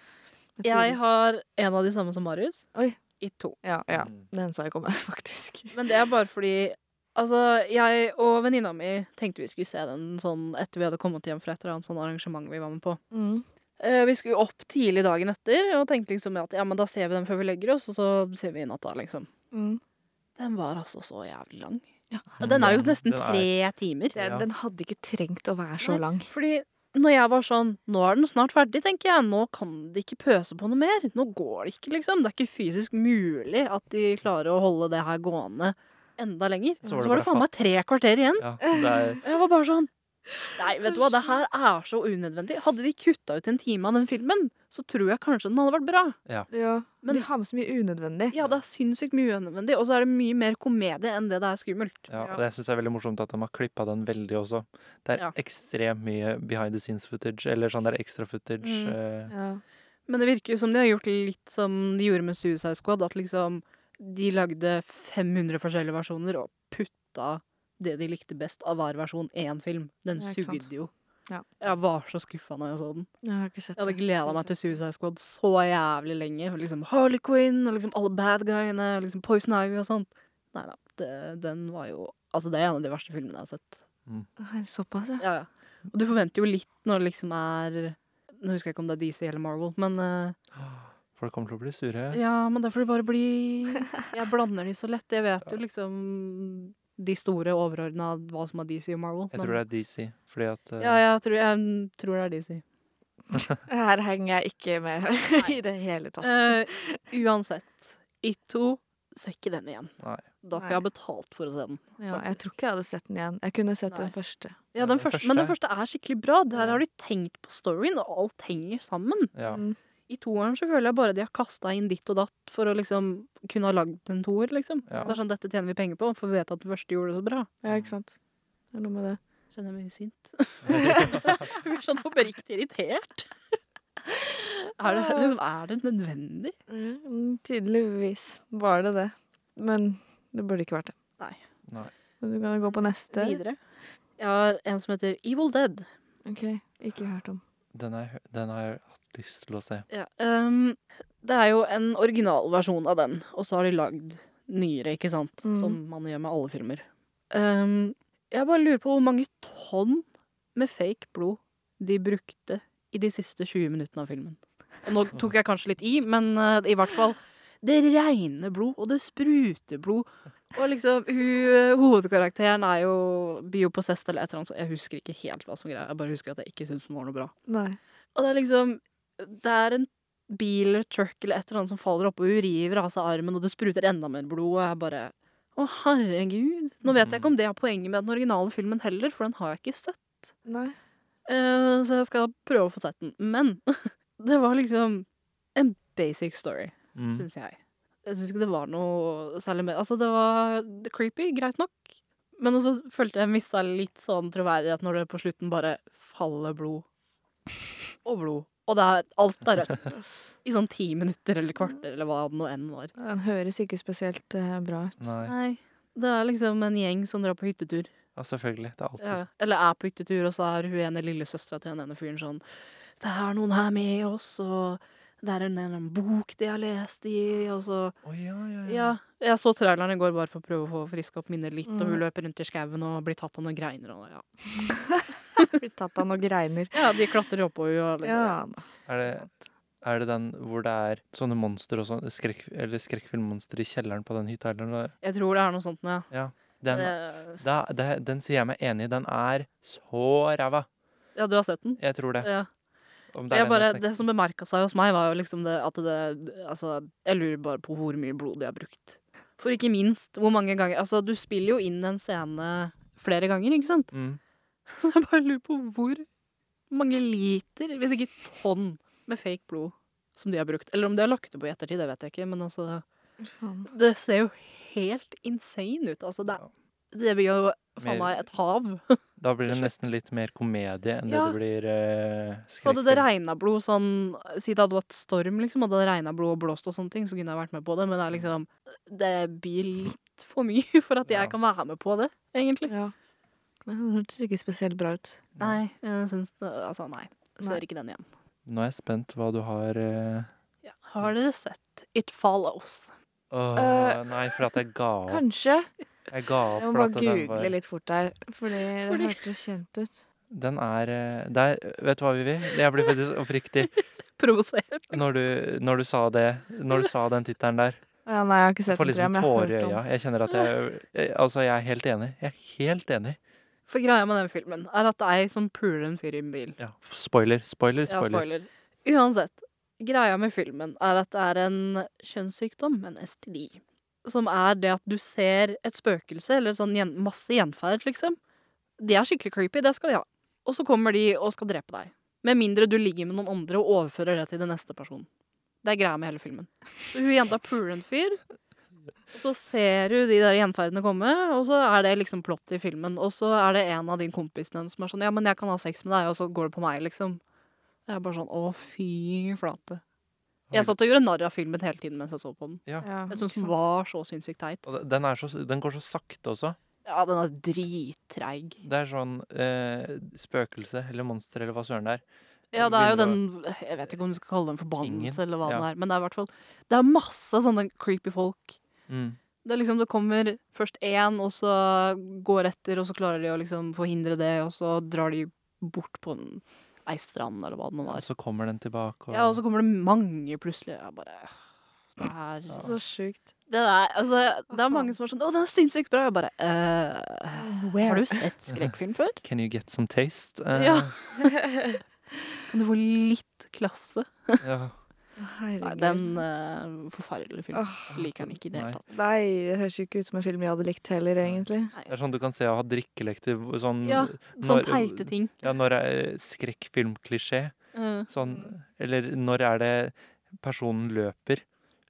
Jeg tror-
Jeg har en av de samme som Marius.
Oi.
I to.
Ja, ja.
Mm.
Den sa jeg kom med, <laughs> faktisk.
Men det er bare fordi Altså, jeg og venninna mi tenkte vi skulle se den sånn etter vi hadde kommet hjem fra et eller annet sånn arrangement vi var med på.
Mm.
Eh, Vi skulle jo opp tidlig dagen etter og tenkte liksom at ja, men da ser vi den før vi legger oss, og så ser vi i natta, liksom.
Mm.
Den var altså så jævlig lang. Ja, Den er jo nesten
Mm, Den er-
tre timer.
Den,
Ja.
den hadde ikke trengt å være så
Nei.
lang.
Fordi når jeg var sånn Nå er den snart ferdig, tenker jeg. Nå kan de ikke pøse på noe mer. Nå går det ikke, liksom. Det er ikke fysisk mulig at de klarer å holde det her gående enda lenger.
Så
Så
var det
var det
bare
faen meg tre kvarter igjen.
Ja, det er,
Og jeg var bare sånn Nei, vet du hva, det her er så unødvendig. Hadde de kutta ut en time av den filmen, så tror jeg kanskje den hadde vært bra.
Ja,
Men-
men de har med så mye unødvendig.
Ja, det er sinnssykt mye unødvendig, og så er det mye mer komedie enn det det er skummelt.
Ja,
Ja.
og det synes jeg er veldig morsomt at de har klippa den veldig også. Det er
Ja.
ekstremt mye behind the scenes footage, eller sånn der ekstra footage.
Mm.
eh,
Ja.
Men det virker jo som de har gjort litt som de gjorde med Suicide Squad, at liksom de lagde 500 forskjellige versjoner og putta det de likte best av hver versjon, én film. Den
Ja, ikke sant.
sugde jo.
Ja.
Jeg var så skuffa når jeg så den.
Jeg har ikke sett
Jeg hadde
det.
gleda meg til Suicide Squad så jævlig lenge. og Liksom Harley Quinn og liksom alle bad guyene og liksom Poison Ivy og sånt. Nei da, det, den var jo Altså, det er en av de verste filmene jeg har sett.
Å, Såpass, ja.
Ja, ja. Og du forventer jo litt når det liksom er Nå husker jeg ikke om det er DC eller Marvel, men eh,
Folk kommer til å bli sure.
Ja, men da får det bare bli <laughs> Jeg blander de så lett. Jeg vet jo liksom de store overordna hva som er DC og Marvel.
Jeg tror det er DC, fordi at eh,
Ja, jeg tror, jeg tror det er DC.
Her henger jeg ikke med <laughs> i det hele tatt.
Eh, uansett, Ito ser ikke den igjen.
Nei.
Da skal
Nei.
jeg ha betalt for å se den.
ja, jeg tror ikke jeg hadde sett den igjen. Jeg kunne sett
Nei.
den første.
Ja, den første, Men den første er skikkelig bra. Der
Ja.
har de tenkt på storyen, og alt henger sammen.
ja.
Mm.
I toeren så føler jeg bare de har kasta inn ditt og datt for å liksom kunne ha lagd en toer, liksom.
Ja.
Det er sånn, dette tjener vi penger på, for vi vet at den første gjorde det så bra.
Ja, ikke sant. Det er noe med det.
Kjenner jeg meg sint. <laughs> jeg blir sånn oppriktig irritert. Er det, liksom, er det nødvendig?
Mm, Tydeligvis var det det. Men det burde ikke vært det.
Nei.
Nei.
Men du kan gå på neste.
Videre. Jeg har en som heter Evil Dead.
Ok, ikke hørt om.
<laughs> Den, er, den har jeg hatt lyst til å se.
Ja, ehm, det er jo en originalversjon av den, og så har de lagd nyere, ikke sant?
Mm.
Som man gjør med alle filmer. Ehm, jeg bare lurer på hvor mange tonn med fake blod de brukte i de siste 20 minuttene av filmen. Og nå tok jeg kanskje litt i, men eh, i hvert fall Det regner blod, og det spruter blod. Og liksom, hun, hovedkarakteren er jo biopossessed eller et eller annet, så jeg husker ikke helt hva som greia. Jeg bare husker at jeg ikke syntes den var noe bra.
Nei.
Og det er liksom Det er en bil eller truck eller et eller annet som faller opp, og hun river av seg armen, og det spruter enda mer blod, og jeg bare Å, herregud. Nå vet jeg ikke om det er poenget med den originale filmen heller, for den har jeg ikke sett.
Nei.
Eh, så jeg skal prøve å få sett den. Men <laughs> det var liksom en basic story,
Mm.
syns jeg. Jeg syns ikke det var noe særlig mer Altså, det var creepy, greit nok. Men også følte jeg mista litt sånn troverdighet når det på slutten bare faller blod. Og blod. Og det er, alt er rødt.
Ass.
I sånn ti minutter eller kvarter eller hva det nå enn var.
Den høres ikke spesielt eh, bra ut.
Nei.
Nei. Det er liksom en gjeng som drar på hyttetur.
Ja, selvfølgelig. Det er alltid
Ja. Eller er på hyttetur, og så er hun ene lillesøstera til den ene fyren sånn Det er noen her med oss, og det er en, en bok de har lest i, og så
Å, ja, ja, ja.
Ja. Jeg så traileren i går bare for å prøve å få friska opp minnet litt, og
Mm.
hun løper rundt i skauen og blir tatt av noen greiner og ja.
Blir tatt av noen
<laughs>
greiner.
Ja, de klatrer oppå henne og liksom
Ja, da.
Er, det, er det den hvor det er sånne monstre og sånn skrekk, Eller skrekkfilmmonstre i kjelleren på den hytta? Eller noe?
Jeg tror det er noe sånt, ja. Eh,
Den,
Det-
da, det, den sier jeg meg enig i. Den er så ræva.
Ja, du har sett den?
Jeg tror det.
Ja.
Om det er
Jeg
den
bare,
jeg
det som bemerka seg hos meg, var jo liksom det at det Altså, jeg lurer bare på hvor mye blod de har brukt. For ikke minst hvor mange ganger Altså, du spiller jo inn en scene flere ganger, ikke sant? <laughs>
snakker- mm.
Så jeg bare lurer på hvor mange liter, hvis ikke tonn, med fake blod som de har brukt. Eller om de har lagt det på i ettertid, det vet jeg ikke, men altså
faen.
Det ser jo helt insane ut. Altså, det, det blir jo
Mer-
faen meg et hav.
Da blir det
til slutt.
nesten litt mer komedie enn det
Ja.
det blir eh,
Hadde det
skrekkfilm.
regna blod sånn Si det hadde vært storm, liksom, hadde det regna blod og blåst og sånne ting, så kunne jeg vært med på det, men det er liksom Det blir litt for mye <laughs> for at jeg
Mm. Ja. Mm.
kan være med på det, egentlig.
Ja. Men Den hørtes ikke spesielt bra ut.
Nei. Jeg syns det Altså, nei. Ser
Nei.
ikke den igjen.
Nå er jeg spent hva du har eh,
Har dere sett It Follows?
Åh,
Eh,
Nei, for at jeg ga opp.
Kanskje.
Jeg ga opp
Jeg må
for
bare
at den var
google litt fort der, fordi det
Fordi-
hørtes kjent ut.
Den er eh, det er- Vet du hva, Vivi? Jeg blir faktisk oppriktig
Provosert.
når du, når du sa det. Når du sa den tittelen
<laughs>
der.
Å Ja, nei, jeg har ikke
Jeg
sett
får
den, tror jeg,
liksom
men
tårer i
jeg har hørt
øya.
om
Jeg kjenner at jeg, jeg Altså, jeg er helt enig. Jeg er helt enig.
For greia med den filmen er at det er ei som puler en fyr i en bil.
Ja. Spoiler, spoiler,
Ja,
spoiler.
spoiler. Uansett, greia med filmen er at det er en kjønnssykdom, en STD, som er det at du ser et spøkelse, eller sånn gjen masse gjenferd, liksom, De er skikkelig creepy, det skal de ha. Og så kommer de og skal drepe deg. Med mindre du ligger med noen andre og overfører det til den neste personen. Det er greia med hele filmen. Så hun jenta puler en fyr, og så ser du de der gjenferdene komme, og så er det liksom plott i filmen. Og så er det en av de kompisene hennes som er sånn Ja, men jeg kan ha sex med deg, og så går det på meg, liksom. Jeg er bare sånn Å, fy flate. Jeg satt og gjorde narr av filmen hele tiden mens jeg så på den.
Ja.
Ja,
Jeg syns
ikke
den
sant.
var så sinnssykt teit.
Og den, er så, den går så sakte også.
Ja, den er drittreig.
Det er sånn eh, spøkelse eller monster eller hva søren det er.
Ja, det er jo den
Begynner
Jeg vet ikke om du skal kalle det en
Tingen,
forbannelse eller hva den
ja.
er, men det er i hvert fall Det er masse sånne creepy folk.
Mm.
Det er liksom, det kommer først én, og så går etter, og så klarer de å liksom forhindre det, og så drar de bort på en, ei strand, eller hva det nå
Og
var.
så kommer den tilbake. Og,
Ja, og så kommer det mange plutselig. Jeg bare Det her
Ja.
Så sjukt.
Det er, altså, det er
faen?
mange som er sånn 'Å, den er sinnssykt bra.' Jeg bare eh, Har du sett skrekkfilm før?
Can you get some taste? Eh,
Ja. Kan du få litt klasse?
<laughs> ja.
Nei,
Herregud.
den uh, forferdelige filmen.
Åh,
Liker den ikke i det hele
Nei.
tatt.
Nei, det høres jo ikke ut som en film jeg hadde likt heller, egentlig.
Det er sånn du kan se og ha drikkelekter sånn,
Ja, sånne
når-
teite ting.
ja, når er eh, skrekkfilmklisjé?
Eh,
Sånn,
Mm.
eller når er det personen løper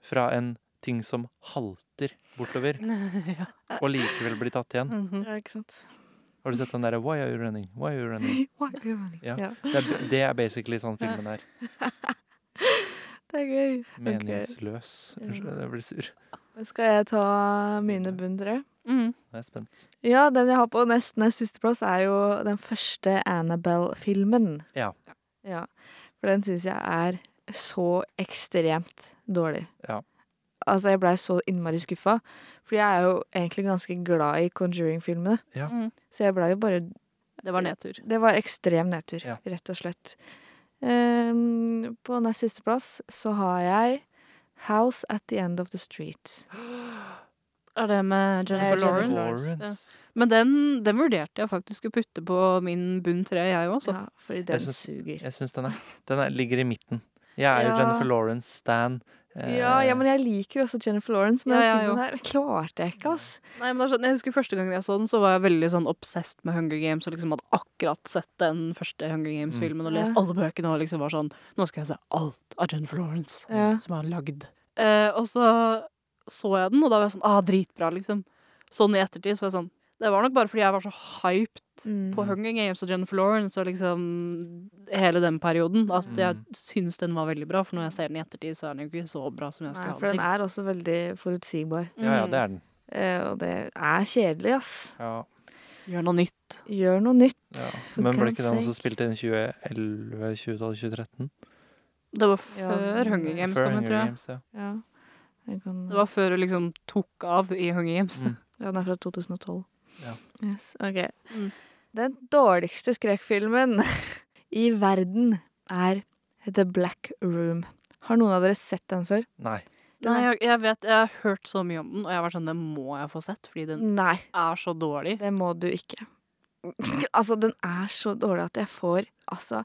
fra en ting som halter bortover,
<laughs> ja.
og likevel blir tatt igjen?
Mhm.
Ja, ikke
<laughs>
sant?
Har du sett den derre 'Why are you running? Why are you running?'
Why are you running?
Ja.
Ja.
Det er, det er basically sånn filmen er.
Det er gøy.
Meningsløs. Unnskyld, jeg blir sur.
Men Skal jeg ta mine bunnere?
Mhm.
Nå er jeg spent.
Ja, den jeg har på nest nest siste plass, er jo den første Annabelle-filmen.
Ja.
Ja. For den syns jeg er så ekstremt dårlig.
Ja.
Altså, jeg blei så innmari skuffa. For jeg er jo egentlig ganske glad i Conjuring-filmene.
Ja.
Mm.
Så jeg blei jo bare
Det var nedtur.
Det var ekstrem nedtur,
Ja.
rett og slett. Ehm, på nest siste plass så har jeg House at the End of the Street.
Er det med Jennifer
Jennifer
Lawrence? Ja. Men den, den vurderte jeg faktisk å putte på min bunn tre, jeg også. <gasps>
Ja, fordi den
synes-
suger.
Jeg syns den, er, den er, ligger i midten. Jeg er jo
Ja.
Jennifer Eh, Lawrence-stan.
Ja, ja, men jeg liker også Jennifer Lawrence, men
eh, Ja,
den
ja,
filmen
jo.
her klarte jeg ikke, ass.
Nei, men det er sånn, jeg husker Første gangen jeg så den, så var jeg veldig sånn obsessed med Hunger Games. Og liksom hadde akkurat sett den første Hunger Games-filmen og lest
Mm. Ja.
alle bøkene. Og liksom var sånn Nå skal jeg se alt av Jennifer Lawrence
Ja.
som er lagd. Eh, og så så jeg den, og da var jeg sånn Ah, dritbra, liksom. Sånn i ettertid så var jeg sånn Det var nok bare fordi jeg var så hyped
Mm.
på Hunger Games og Jennifer Lawrence og liksom hele den perioden at jeg
Mm.
syns den var veldig bra. For når jeg ser den i ettertid, så er den jo ikke så bra som jeg
Nei,
skulle
for
ha
den
den til.
er også veldig forutsigbar.
Ja, ja, det er den.
Eh, og det er kjedelig, ass.
Ja,
Mm. Gjør noe nytt.
Gjør noe nytt.
ja.
for
Men ble
God's
ikke den også
sake.
spilt inn i 2011, 2012, 2013?
Det var
Ja,
før
men- eh,
Hunger Games
Før
kom, jeg
Hunger
tror jeg.
Games, ja.
Ja. Jeg kan...
Det var før det liksom tok av i Hunger Games.
Mm.
Ja, den er fra 2012.
Ja.
Yes, ok.
Mm.
Den dårligste skrekkfilmen <laughs> i verden er The Black Room. Har noen av dere sett den før?
Nei.
Den
<laughs> Nei,
er-
jeg, jeg vet, jeg har hørt så mye om den, og jeg har vært sånn, det må jeg få sett, fordi den
Nei,
er så dårlig.
det må du ikke. <laughs> altså, den er så dårlig at jeg får altså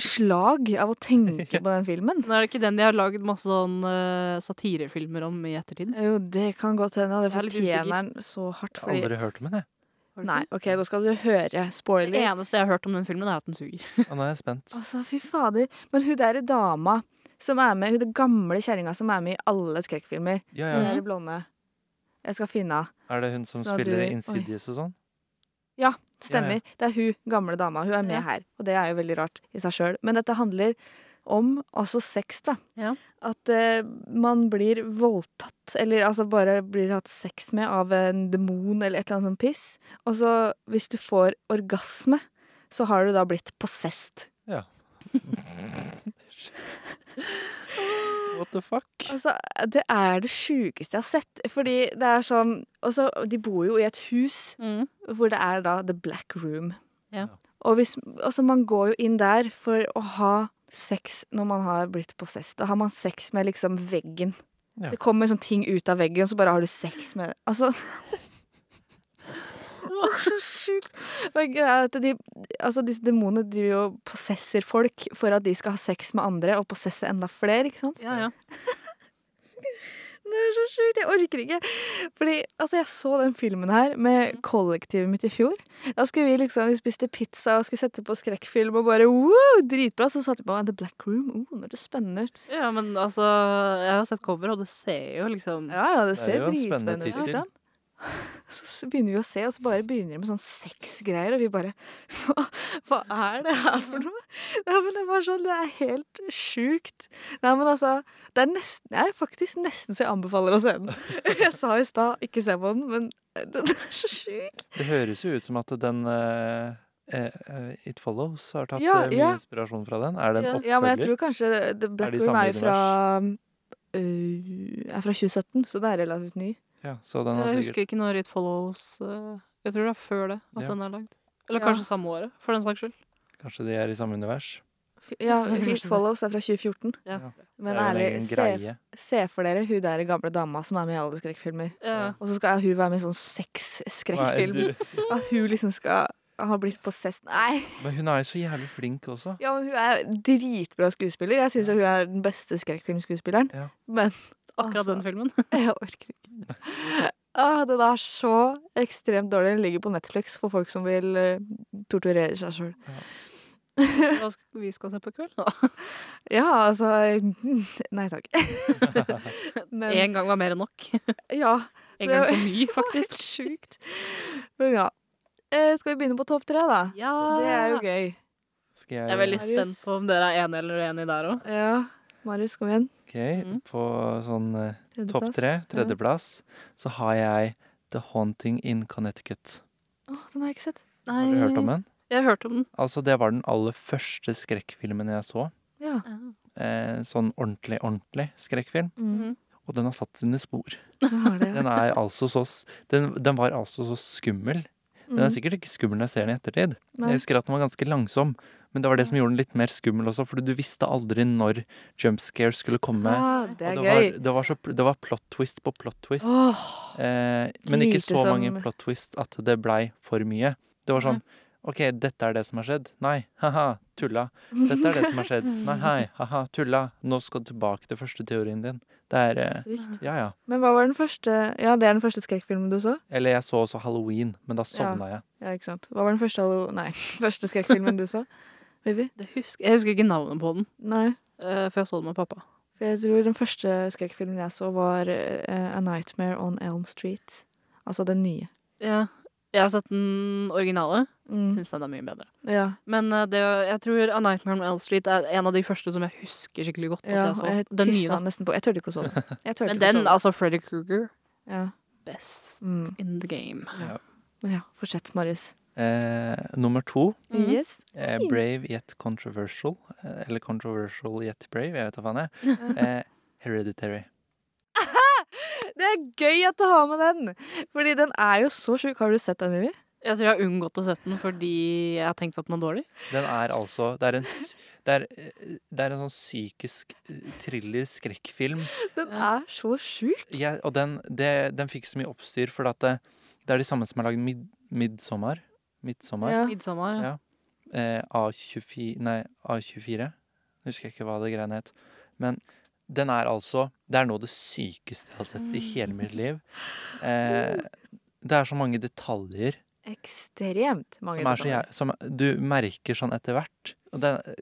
slag av å
<laughs>
tenke på den filmen.
Men er det ikke den de har laget masse sånn eh, satirefilmer om i ettertid?
Jo, det kan godt hende, og det
Jeg er litt usikker.
fortjener den så hardt.
Jeg har
Fordi...
aldri hørt om den, jeg.
Har du
Nei,
ikke
OK, da skal du høre
det? Det
spoiler.
eneste jeg har hørt om den filmen, er at den suger.
Å, nå er jeg spent.
Altså, fy fader. Men hun derre dama som er med, hun der gamle kjerringa som er med i alle skrekkfilmer, hun
Ja, ja.
Mhm.
derre blonde Jeg skal finne henne.
Er det hun som
Mm. Så du-
spiller
oi.
Insidious og sånn?
Stemmer. Det er hun gamle dama. Hun er med
Ja.
her. Og det er jo veldig rart i seg sjøl. Men dette handler om altså sex, da.
Ja.
At eh, man blir voldtatt, eller altså bare blir hatt sex med av en demon eller et eller annet sånt piss. Og så, hvis du får orgasme, så har du da blitt possessed.
What the fuck?
Altså, det er det sjukeste jeg har sett. Fordi det er sånn Og så, de bor jo i et hus hvor det er da The Black Room.
Ja.
Og hvis Altså, man går jo inn der for å ha sex når man har blitt possessed. Da har man sex med liksom veggen.
Ja.
Det kommer sånn ting ut av veggen, og så bare har du sex med Altså Det var så sjukt. Men greia er at de, altså disse demonene driver jo og possesser folk for at de skal ha sex med andre og possesse enda flere, ikke sant?
Ja, ja.
det er så sjukt! Jeg orker ikke. Fordi altså, jeg så den filmen her med kollektivet mitt i fjor. Da skulle vi liksom, vi spiste pizza og skulle sette på skrekkfilm og bare wow, dritbra. Så satt vi på The Black Room. Oh, nå er det spennende ut.
<laughs> Ja, men altså, jeg har sett cover, og det ser jo liksom
Ja, ja, det
Det er
ser
jo en spennende
dritspennende ut,
tittel.
liksom. <laughs> Så s- begynner vi å se, og så bare begynner de med sånn sexgreier, og vi bare <laughs> hva, hva er det her for noe? <laughs> Ja, men det var sånn, det er helt sjukt. Nei, men altså, det er nesten, det er faktisk nesten så jeg anbefaler å se den. <laughs> Jeg sa i stad, ikke se på den, men eh, den er så sjuk.
Det høres jo ut som at den eh, eh, eh, It Follows har tatt
Ja,
eh, mye
ja.
inspirasjon fra den. Er det en
Ja.
oppfølger?
Ja, men jeg tror kanskje The Black
de
Room
samme
er jo fra øh, er fra 2017, så det er relativt ny.
Ja, så den har
Jeg
sikkert
husker ikke når It Follows eh, Jeg tror det er før det at
Ja.
den er lagd. Eller
Ja.
kanskje samme året, for den saks skyld.
Kanskje de er i samme univers?
<laughs> Ja, It Follows er fra 2014.
Ja.
Ja.
Men
det er jo en
ærlig,
egen
se
greie.
Se for dere hun der gamle dama som er med i alle skrekkfilmer.
Ja.
Og så skal hun være med i sånn sexskrekkfilm. At hun liksom skal ha blitt possessed. Nei!
Men hun er jo så jævlig flink også.
Ja, men hun er dritbra skuespiller. Jeg syns
Ja.
hun er den beste skrekkfilmskuespilleren.
Ja.
Men
Akkurat
Altså. <laughs>
den filmen.
jeg orker ikke. Ah, den er så ekstremt dårlig. Den ligger på Netflix for folk som vil eh, torturere seg sjøl.
Hva skal vi skal se på i kveld? da?
Ja, altså <laughs> Nei takk. <laughs> Men
En gang var mer enn nok. <laughs>
ja. Det
En gang
var-
for mye,
Helt
faktisk.
sjukt. Men ja. Eh, Skal vi begynne på topp tre, da?
<laughs> Ja.
Det er jo gøy.
Skal jeg,
Jeg er veldig
Marius.
spent på om dere er enige eller uenige der òg.
Ja. Marius, kom igjen.
Ok,
Mm.
på sånn eh, topp
Tredjeplass.
tre, tredjeplass, så har jeg The Haunting in Connecticut.
Å, den har jeg ikke sett.
Har du hørt om den?
Jeg har hørt om den.
Altså, det var den aller første skrekkfilmen jeg så.
Ja.
Eh, sånn ordentlig, ordentlig skrekkfilm.
Mm.
Mhm.
Og den har satt sine spor.
Den har det.
Den, er altså så, s- den, den var altså så skummel. Den er
Mm.
sikkert ikke skummel når jeg ser den i ettertid.
Nei.
Jeg husker at den var ganske langsom. Men det var det som gjorde den litt mer skummel også, for du visste aldri når jump scares skulle komme.
Ah, det er
Og
gøy.
Var, det, var så, pl- det var plot twist på plot twist.
Åh,
Eh, men ikke
Lite
så mange
som-
plot twist at det blei for mye. Det var sånn OK, dette er det som har skjedd. Nei, ha-ha, tulla. Dette er det som har skjedd. Nei, hei, ha-ha, tulla. Nå skal du tilbake til første teorien din. Det er eh,
sykt.
Ja, ja.
Men hva var den første Ja, det er den første skrekkfilmen du så?
Eller jeg så også Halloween, men da sovna jeg.
Ja, ikke sant. Hva var den første hallo... Nei, <laughs> første skrekkfilmen du så? Vivi?
Det husker, jeg husker ikke navnet på den,
Nei.
eh, for jeg så den med pappa.
For jeg tror den første skrekkfilmen jeg så, var eh, A Nightmare on Elm Street. Altså den nye.
Ja. Mhm. Jeg har sett den originale.
Mm.
Syns den er mye bedre.
Ja.
Men eh, det, jeg tror A Nightmare on L Street er en av de første som jeg husker skikkelig godt. At
ja
jeg så.
jeg
den nye,
tissa
da.
nesten på Jeg turte ikke å sove. Jeg turte
Men
ikke å
den,
sove.
altså Freddy Kruger,
Ja.
best
Mm.
in the game.
Men ja, fortsett, Marius.
Eh, nummer to,
Mhm.
Yes.
eh, Brave yet controversial. Eh, eller controversial yet brave, jeg vet da faen, jeg.
<laughs>
Eh, Hereditary.
Det er gøy at du har med den! Fordi den er jo så sjuk. Har du sett den, Vivi?
Jeg tror jeg har unngått å sette den fordi jeg har tenkt at den er dårlig.
Den er altså Det er en, s- det er, eh, det er en sånn psykisk eh, thriller-skrekkfilm.
Den
Ja.
er så sjuk!
Jeg- og den, det, den fikk så mye oppstyr, for at det, det er de samme som har lagd mid, 'Midtsommer'. Midtsommer
Ja.
Midsommar.
Ja. eh, A24 Nei, A24. Husker jeg ikke hva det greiene het. Men den er altså Det er noe av det sykeste jeg har sett i hele mitt liv. Eh, det er så mange detaljer
Ekstremt mange
som, er så,
detaljer.
jæ- som du merker sånn etter hvert. Og det,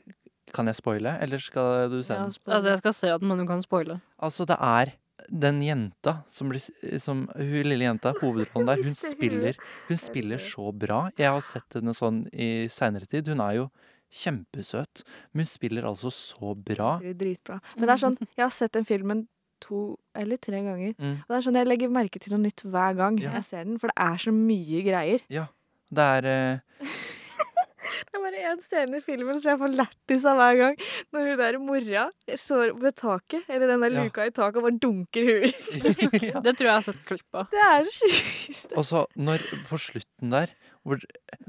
kan jeg spoile, eller skal du se
Ja,
den?
spoiler.
Altså, jeg skal se den, men du kan spoile.
Altså, det er den jenta som blir s- som, Hun lille jenta, hovedrollen der, hun
Mister huet.
spiller, hun spiller så bra. Jeg har sett henne sånn i seinere tid. Hun er jo kjempesøt, men hun spiller altså så bra.
Det er Dritbra. Men det er sånn, jeg har sett den filmen to eller tre ganger.
Mm.
Og det er sånn, Jeg legger merke til noe nytt hver gang
Ja.
jeg ser den, for det er så mye greier.
Det er eh,
Det er bare én scene i filmen som jeg får lættis av hver gang. Når hun der mora står ved taket, eller den der
Ja.
luka i taket, og bare dunker huet i.
eh, <laughs> ja.
Det tror jeg jeg har sett klipp av.
Det er det sjukeste.
Og så når På slutten der hvor,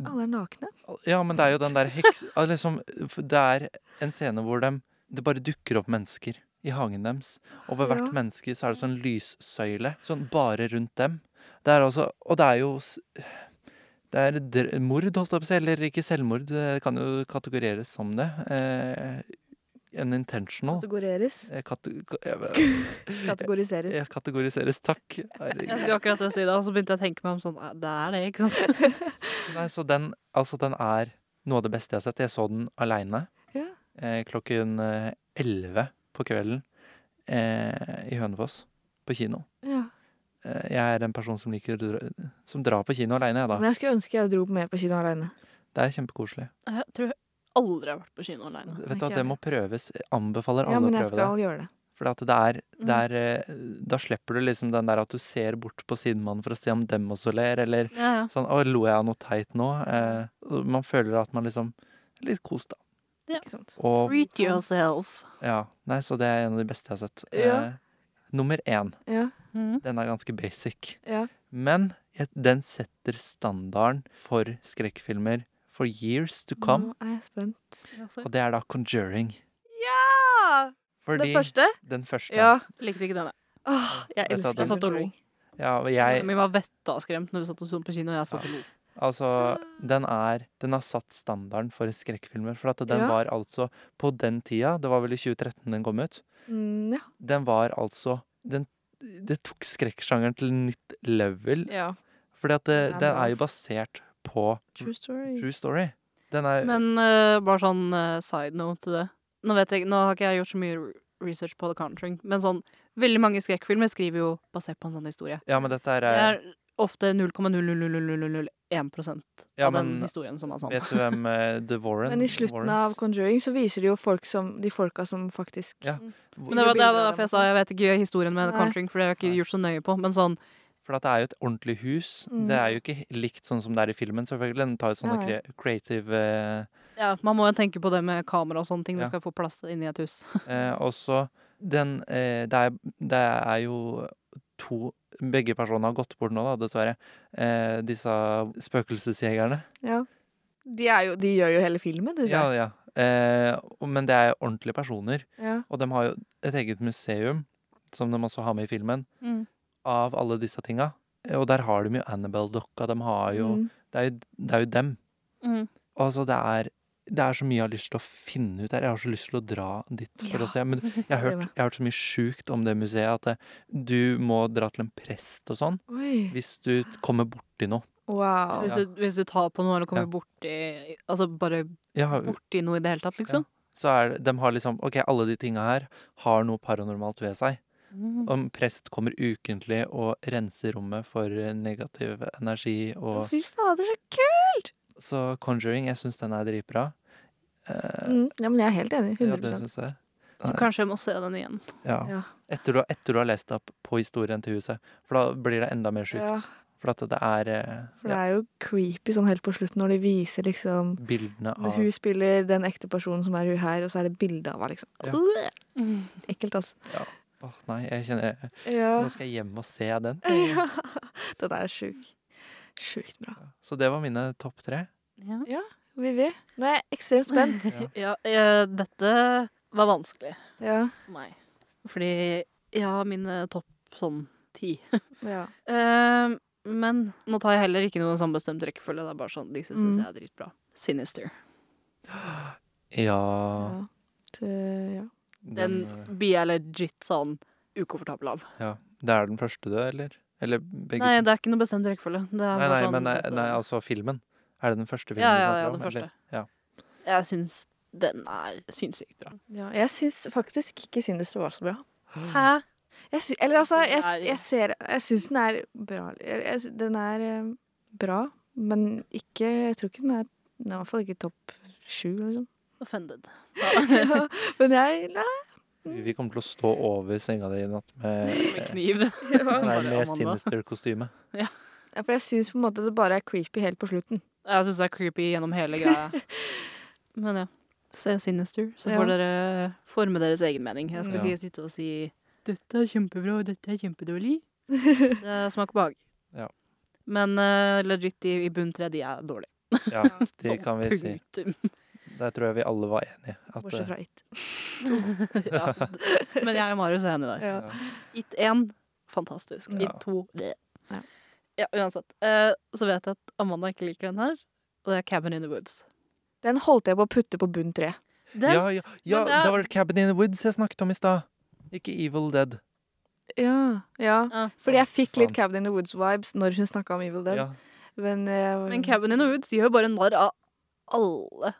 Alle er nakne.
Ja, men det er jo den der heks... <laughs> ah, Liksom, det er en scene hvor dem Det bare dukker opp mennesker i hagen deres. Og ved hvert
Ja.
menneske så er det sånn lyssøyle. Sånn bare rundt dem. Det er altså Og det er jo s- Det er dr- mord, holdt jeg på å si. Eller ikke selvmord. Det kan jo kategoreres som det. Eh, en intentional
Kategoreres.
eh, kate- ka- jeg vet-
<laughs>
<laughs>
Kategoriseres.
jeg Kategoriseres, takk.
Jeg
Herregud.
skulle akkurat til å si det, og så begynte jeg å tenke meg om sånn "Æ, Det er det, ikke sant?
Nei, så den, altså, den er noe av det beste jeg har sett. Jeg så den aleine
Ja.
eh, klokken eh, 11 på kvelden eh, i Hønefoss, på kino.
Ja.
Eh, jeg er en person som liker å dra, som drar på kino aleine, jeg,
Men
da.
jeg skulle ønske jeg dro med på kino aleine.
Det er kjempekoselig.
<laughs> Jeg tror aldri jeg har vært på kino alene.
Vet du
ikke
at det
jeg.
må prøves. Jeg anbefaler
Ja,
alle
men
å
jeg
prøve det.
skal Mm. gjøre det.
For at det er, det er eh, Da slipper du liksom den der at du ser bort på sidemannen for å se om dem også ler, eller
Ja, ja.
sånn Å, lo jeg av noe teit nå? Eh, og man føler at man liksom er Litt kos, da.
Ikke sant?
Og
Treat yourself.
ja. Nei, så det er en av de beste jeg har sett.
Ja.
Eh, nummer én.
Ja.
Mm.
Den er ganske basic.
Ja.
Men jeg- den setter standarden for skrekkfilmer for years to come,
Nå er jeg spent. Mm.
og det er da Conjuring.
Ja!
Fordi
Den første?
Den første.
Ja.
Likte ikke denne.
Åh, jeg
Vet du at
elsker
den-
Jeg satt og lo.
Ja, og jeg
Vi var vettaskremt når vi satt og så på kino, og jeg satt og lo.
Ah.
Altså, den er Den har satt standarden for skrekkfilmer. For at den
Ja.
var altså På den tida, det var vel i 2013 den kom ut,
Mm, ja.
den var altså den, Det tok skrekksjangeren til nytt level.
ja.
Fordi at
Den
det,
er
den
bra,
er jo
ass.
basert på
True story.
True Story. Den er
Men eh, bare sånn eh, side note til det. Nå, vet jeg, ikke- nå har ikke jeg gjort så mye re- research på The Conjuring, men sånn, veldig mange skrekkfilmer skriver jo basert på en sånn historie.
Ja, men dette er,
Det
eh,
er ofte 0,00001
Ja,
av den
men
historien som er sann.
Vet du hvem eh, The Warren
Men i slutten av
Warrens?
Conjuring så viser de jo folk som, de folka som faktisk
Ja.
Men det var, det var
Bilder av
derfor jeg
dem og
sa jeg vet ikke historien med The
Nei.
Conjuring, for det har jeg ikke
Nei.
gjort så nøye på. Men sånn
For at det er jo et ordentlig hus.
Mm.
Det er jo ikke likt sånn som det er i filmen, selvfølgelig. Den tar jo sånne
Nei,
kre creative eh,
Ja, man må jo tenke på det med kamera og sånne ting.
Ja.
Du skal få plass inni et hus.
Eh, og så den eh, det, er, det er jo to Begge personer har gått bort nå, da, dessverre. Eh, disse spøkelsesjegerne.
Ja. De, er jo, de gjør jo hele filmen, syns
Ja,
jeg.
ja. Eh, og- men det er ordentlige personer.
Ja.
Og de har jo et eget museum, som de også har med i filmen,
Mm.
av alle disse tinga. Eh, Og der har de jo Annabelle-dokka. De har jo,
Mm.
det, er jo det er jo dem. Altså, det er det er så mye jeg har lyst til å finne ut der. Jeg har så lyst til å dra dit for
Ja.
å
<laughs>
se. Men Jeg har,
Gjør
hørt,
det.
jeg har hørt så mye sjukt om det museet at det, du må dra til en prest og sånn
Oi.
hvis du kommer borti noe.
Wow.
Hvis, du, hvis du tar på noe eller
Ja.
kommer borti Altså bare
Ja,
borti noe i det hele tatt, liksom.
så er, det- de har liksom Ok, alle de tinga her har noe paranormalt ved seg.
Mm.
Om prest kommer ukentlig og renser rommet for eh, negativ energi og
Fy fader, så kult!
Så Conjuring, jeg syns den er dritbra. Eh,
Mm. Ja, men jeg er helt enig.
ja, det
100
syns jeg.
Så kanskje jeg må se den igjen.
Ja.
Ja.
Etter, du, etter du har lest opp på historien til huset. For da blir det enda mer sjukt.
Ja.
For at det er eh,
For det
ja,
er jo creepy sånn helt på slutten når de viser liksom
bildene av
Hun spiller den ekte personen som er hun her, og så er det bilde av henne, liksom.
Ja.
Øh, Ekkelt, altså.
Åh, nei, jeg kjenner
Ja.
Nå skal jeg hjem og se den.
ja. Den er sjuk. Sjukt bra.
Så det var mine topp tre.
Ja.
Vivi, nå er jeg ekstremt spent.
Ja, eh, dette var vanskelig
<laughs> Ja.
for meg. Fordi jeg har mine topp sånn ti.
ja.
Eh, men nå tar jeg heller ikke noen sånn bestemt rekkefølge. Det er bare sånn, De syns
Mm.
jeg er dritbra. Sinister.
Ja,
ja. Det- ja.
Den
den, eh,
blir jeg legit sånn ukomfortabel av.
Det er den første du, eller? Eller begge
Nei,
to?
det er ikke noe bestemt rekkefølge. Det er
nei,
bare
nei,
sånn
men nei,
dette-
nei, altså filmen. Er det den første filmen
ja,
du
ja,
snakker
ja,
om?
den
eller?
første.
Ja.
Jeg syns den er sinnssykt bra.
ja. Jeg syns faktisk ikke Sinister var så bra.
Hæ?
Jeg sy eller altså, jeg,
Den er-
jeg ser Jeg syns den er bra. Jeg, jeg, sy- den er eh, bra, men ikke Jeg tror ikke den er Den er i hvert fall ikke topp sju, liksom.
Offended.
Ja, men jeg Nei.
Vi kommer til å stå over senga di i natt med,
Med kniv.
nei,
Bare
med
Amanda.
Sinister-kostyme.
Ja, for jeg syns på en måte det bare er creepy helt på slutten.
Jeg syns det er creepy gjennom hele greia. <laughs> Men ja. Se Sinister, så
Ja.
får dere forme deres egen mening. Jeg skal
Ja.
ikke sitte og si 'dette er kjempebra, og dette er kjempedårlig'. <laughs> Det smaker Eh, behag.
Ja.
Men eh, legit, de i bunn tre, de er dårlige.
Ja, det
Sånn,
kan vi si.
punktum. <laughs>
Der tror jeg vi alle var enige. At,
Bortsett
eh,
fra It.
ja. Men jeg og Marius er
eh,
enige der.
Ja.
It 1, fantastisk.
Ja.
It 2, det.
Ja.
Ja, uansett. Eh, så vet jeg at Amanda ikke liker den her. Og det er Cabin in the Woods.
Den holdt jeg på å putte på bunn tre.
Den,
ja, ja, ja
det er-
det var Cabin in the Woods jeg snakket om i stad. Ikke Evil Dead.
Ja, ja.
Ja.
Fordi jeg fikk litt
Faen.
Cabin in the Woods-vibes når hun snakka om Evil Dead.
Ja.
Men, eh, jeg-
Men Cabin in the Woods gjør bare narr av alle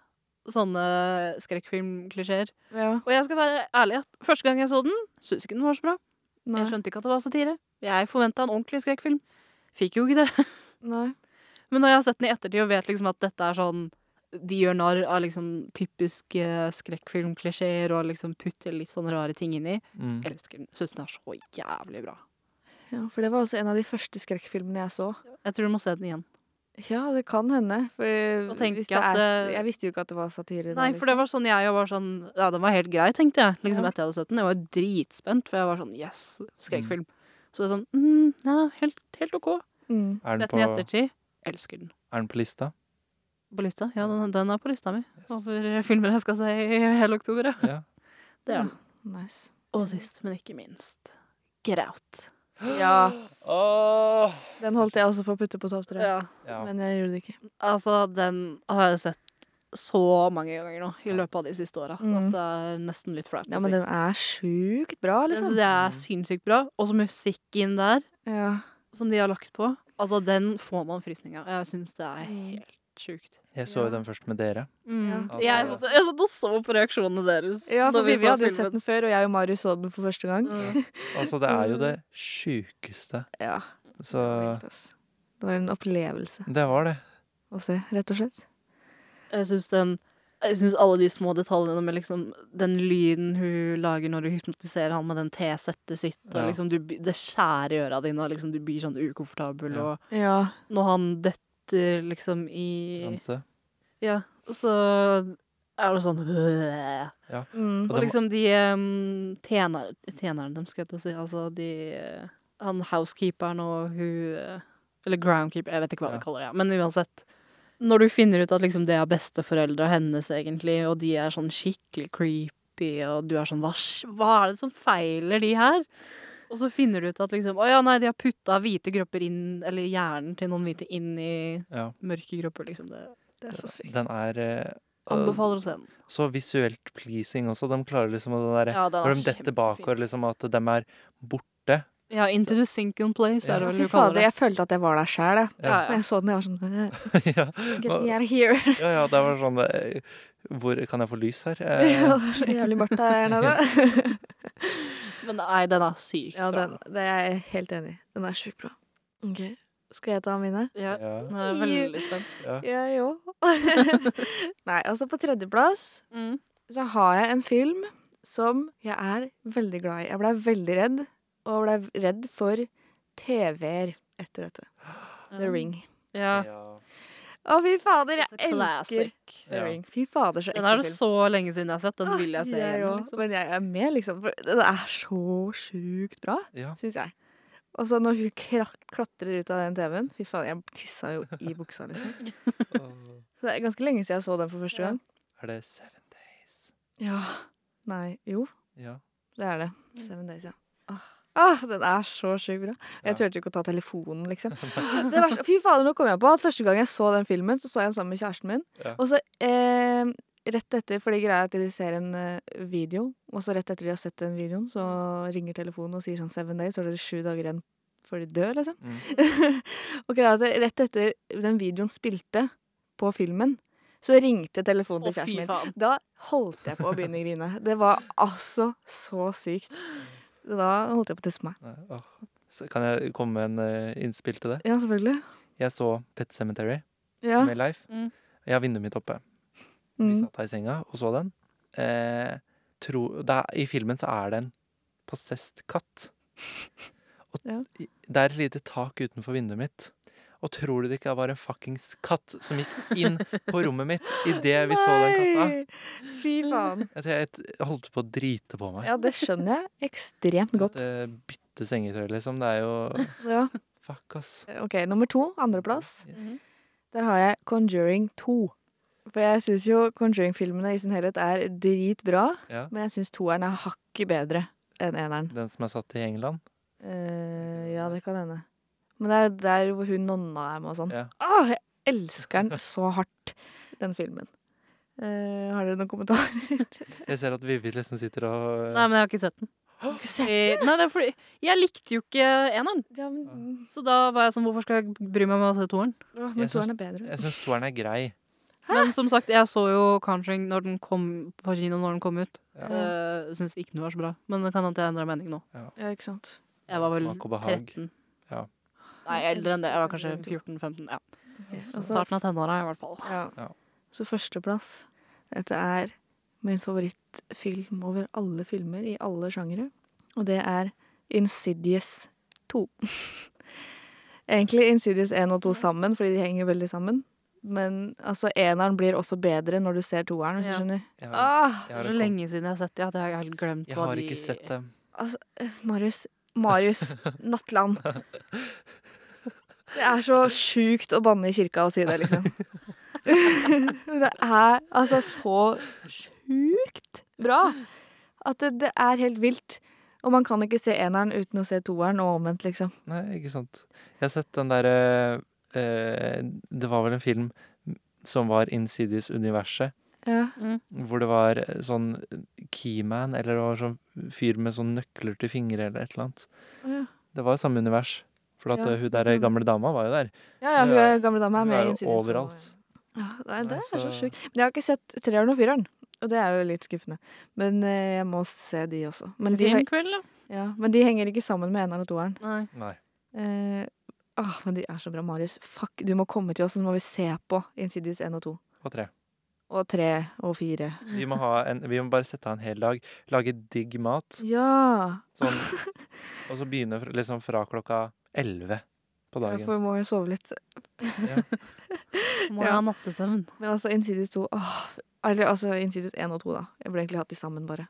sånne skrekkfilmklisjeer.
ja,
Og jeg skal være ærlig at første gang jeg så den, syntes ikke den var så bra.
nei,
Jeg skjønte ikke at det var satire. Jeg forventa en ordentlig skrekkfilm. Fikk jo ikke det. <laughs>
nei.
Men når jeg har sett den i ettertid og vet liksom at dette er sånn De gjør narr av liksom typiske eh, skrekkfilmklisjeer og liksom putter litt sånne rare ting inni.
Mm.
Elsker den. Syns den er så jævlig bra.
Ja, for det var også en av de første skrekkfilmene jeg så.
Jeg tror du må se den igjen.
Ja, det kan hende. For
Og tenke
hvis det
at
er,
det-
jeg visste jo ikke at det var satire.
Nei,
da,
for det var sånn jeg jo var sånn Ja, den var helt grei, tenkte jeg. Liksom
Ja.
etter jeg hadde sett den. Jeg var dritspent, for jeg var sånn Yes, skrekkfilm. Så det er sånn mm, Ja, helt, helt OK.
Mm.
Er, den
Sett
på,
den i
er
ettertid. Elsker den.
den på lista?
På lista? Ja, den, den er på lista mi.
Yes.
Over filmer jeg skal se i hele oktober, ja.
Ja.
Det er den. <gasps>
Nice.
Og sist, men ikke minst, Graut.
Ja.
Åh!
Den holdt jeg også for å putte på topp tre,
Ja.
men jeg gjorde det ikke.
Altså, den har jeg sett så mange ganger nå i løpet av de siste åra
Mm.
at det er nesten litt flaut.
Ja, men den er sjukt bra,
Jeg
liksom.
synes det er sinnssykt bra. Og så musikken der,
Ja.
som de har lagt på. Altså, den får man frysning av. Jeg syns det er
Mm.
helt sjukt.
Jeg så jo
Ja.
den først med dere.
Mm.
Ja.
Jeg, satt, jeg satt og så på reaksjonene deres.
Ja,
da
for Vivi
så
hadde jo sett
filmen.
den før, og jeg og Marius så den for første gang.
<laughs> Mm.
Altså, det er jo det sjukeste.
Ja,
Så
vilt, ass. Det var en opplevelse
det var det.
å se, rett og slett.
Jeg syns den jeg synes alle de små detaljene med liksom den lyden hun lager når hun hypnotiserer han med den T-settet sitt, og
Ja.
liksom du, by- det skjærer i øra dine, og liksom du blir sånn ukomfortabel,
Ja.
Ja.
og når han detter liksom i
Danse.
Ja, så er det sånn <laughs> øh.
Mm.
Og
Og
det må-
liksom de um, tjener, tjeneren dem, skal jeg til å si, altså de eh, Han housekeeperen og hun eh, Eller groundkeeper, jeg vet ikke hva
Ja.
de kaller det, men uansett. Når du finner ut at liksom det er besteforeldra hennes, egentlig, og de er sånn skikkelig creepy, og du er sånn hva, s- hva er det som feiler de her? Og så finner du ut at liksom Å ja, nei, de har putta hvite kropper inn, eller hjernen til noen hvite inn i
Ja.
mørke kropper, liksom. Det
Det er så sykt.
Den er eh,
anbefaler å se den.
så visuelt pleasing også. De klarer liksom å den derre
Ja, den
Når de detter bakover, liksom, at de er borte.
Ja, Into the Sinking Place
Ja.
er det vel
Fy
du kaller
fader,
det.
jeg følte at jeg var der sjæl, jeg.
Ja,
Når
ja.
jeg så den, jeg var sånn eh,
<laughs> ja.
Get me out of here. <laughs>
ja, ja, det var sånn eh, Hvor Kan jeg få lys
<laughs>
her? Eh,
Ja, det var så jævlig mørkt der
<laughs>
nede. <laughs>
Men nei, den er sykt
Ja,
bra.
den, det er jeg helt enig i. Den er sjukt bra. Ok, Skal jeg ta mine?
Ja,
ja,
den er veldig spent.
ja.
Jeg òg. <laughs> Nei, altså på tredjeplass
Mm.
så har jeg en film som jeg er veldig glad i. Jeg blei veldig redd, og blei redd for TV-er etter dette. The Ring.
Ja.
Å, fy fader,
It's a
jeg elsker
classic.
The
Ja.
Ring. Fy fader, så
Den er
ekkel
det
film.
så lenge siden jeg har sett. Den vil jeg se
Ah,
igjen.
òg.
Liksom.
Men jeg er med, liksom. For den er så sjukt bra,
Ja.
syns jeg. Og så når hun kra- klatrer ut av den TV-en Fy faen, jeg tissa jo i buksa, liksom.
Åh.
Så det er ganske lenge siden jeg så den for første
Ja.
gang.
Er det Seven Days?
Ja. Nei, jo.
Ja.
Det er det. Seven Days, ja. Åh, Åh, den er så sjukt bra. Jeg
Ja.
turte jo ikke å ta telefonen, liksom. Det verste, fy fader, nå kom jeg på at første gang jeg så den filmen, så så jeg den sammen med kjæresten min.
Ja.
Og så eh, rett etter, fordi greia er at de ser en eh, video, og så rett etter de har sett den videoen, så ringer telefonen og sier sånn Seven Days, så er det sju dager igjen før de dør, liksom.
mm.
<laughs> og greia er at rett etter den videoen spilte på filmen, så ringte telefonen til
Å,
kjæresten
fy
min.
faen.
Da holdt jeg på å begynne å grine. Det var altså så sykt. Da holdt jeg på å tisse meg.
Nei, åh. Så kan jeg komme med en eh, innspill til det?
Ja, selvfølgelig.
Jeg så Pet Cemetery
Ja.
med Leif.
Mm.
Jeg har vinduet mitt oppe. Vi
Mm.
satt her i senga og så den. Eh, tro, det er, I filmen så er det en possessed katt. Og
Ja.
i- det er et lite tak utenfor vinduet mitt. Og tror du det ikke var en fuckings katt som gikk inn på rommet mitt idet vi så den katta?
Nei! Fy faen.
Jeg, tror jeg, jeg holdt på å drite på meg.
Ja, det skjønner jeg ekstremt godt.
At, eh, Bytte sengetøy, liksom. Det er jo
Ja.
Fuck, ass.
Ok, nummer to. Andreplass.
Yes.
Der har jeg Conjuring 2. For jeg syns jo Conjuring-filmene i sin helhet er dritbra,
Ja.
men jeg syns toeren er hakket bedre enn eneren.
Den som er satt i England.
Eh, ja, det kan hende. Men det er der hvor hun nonna er med og sånn.
Ja.
Åh, jeg elsker den så hardt, den filmen. Eh, har dere noen kommentarer?
Jeg ser at Vivi liksom sitter og
Nei, men jeg har ikke sett den. Eh, <laughs> Nei, det er fordi Jeg likte jo ikke eneren.
Ja, men,
Så da var jeg sånn, hvorfor skal jeg bry meg med å se toeren?
ja, men
Jeg syns-
toeren er bedre.
Jeg syns toeren er grei.
Men som sagt, jeg så jo Conjuring når den kom på kino når den kom ut.
Ja.
Eh, Syns ikke den var så bra. Men det kan hende jeg endra mening nå.
Ja, ikke sant.
Jeg var vel
Smak og behag.
13.
Ja.
Nei, eldre enn det. Jeg var kanskje 14-15. Ja.
Ok, og så-
Starten av tenåra, i hvert fall.
Ja.
Ja.
Så førsteplass. Dette er min favorittfilm over alle filmer i alle sjangere. Og det er Insidious 2. <laughs> Egentlig Insidious 1 og 2 sammen, fordi de henger veldig sammen. Men altså, eneren blir også bedre når du ser toeren, hvis
Ja.
du skjønner.
Jeg har,
Ah,
jeg
Det
har,
er
en
så
kom-
lenge siden jeg har sett det at jeg har helt glemt
jeg
hva
har
de
ikke sett det.
Marius. Marius Nattland. Det er så sjukt å banne i kirka og si det, liksom. Det er altså så sjukt bra at det, det er helt vilt. Og man kan ikke se eneren uten å se toeren, og omvendt, liksom.
Nei, ikke sant. Jeg har sett den derre Det var vel en film som var Insidious Universet,
Ja.
hvor det var eh, sånn keyman, eller det var sånn fyr med sånn nøkler til fingre, eller et eller annet.
Ja,
Det var samme univers. For at
Ja, Mm.
eh, hun
det
der
kan-
gamle dama var jo der.
ja, hun er gamle dame er
Hun
med
er
i
jo
Insidious.
overalt.
Ja, nei, det
Nei,
er så
så-
sjukt. Men jeg har ikke sett treeren og fireren, og det er jo litt skuffende. Men eh, jeg må se de også. Men de, he-
Filmkveld, da?
ja, men de henger ikke sammen med eneren og toeren.
Nei.
Nei.
Eh, ah, men de er så bra, Marius. Fuck, du må komme til oss, så må vi se på Insidious 1 og 2.
Og tre.
Og 3 og 4.
Vi må, ha en, vi må bare sette av en hel dag, lage digg mat,
Ja!
sånn,
<laughs>
og så begynne fra- liksom fra klokka elleve på
Jeg
dagen.
får, må jo sove litt.
Må jeg
Ja.
ha nattesøvn?
Men altså, Insidious 2 åh, Eller altså, Insidious 1 og 2, da. Jeg burde egentlig hatt de sammen, bare.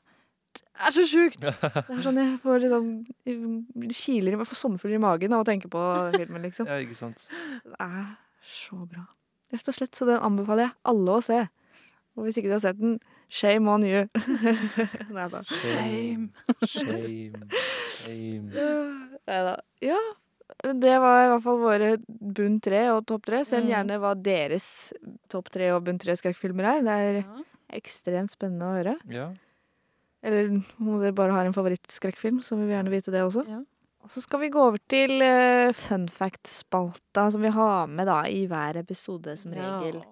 Det er så sjukt! Det er sånn jeg får litt sånn jeg kiler i meg, får sommerfugler i magen av å tenke på den filmen, liksom.
Ja, ikke sant.
Det er så bra. Rett og slett. Så den anbefaler jeg alle å se. Og hvis ikke du har sett den, shame on you. <laughs> Nei da.
Shame, shame, shame.
Nei da. Ja. Det var i hvert fall våre bunn tre og topp tre. Send
Mm.
gjerne hva deres topp tre og bunn tre skrekkfilmer er. Det er ekstremt spennende å høre.
Ja.
Eller om dere bare har en favorittskrekkfilm, så vil vi gjerne vite det også.
Ja.
Og så skal vi gå over til eh, fun fact-spalta, som vi har med da i hver episode som regel.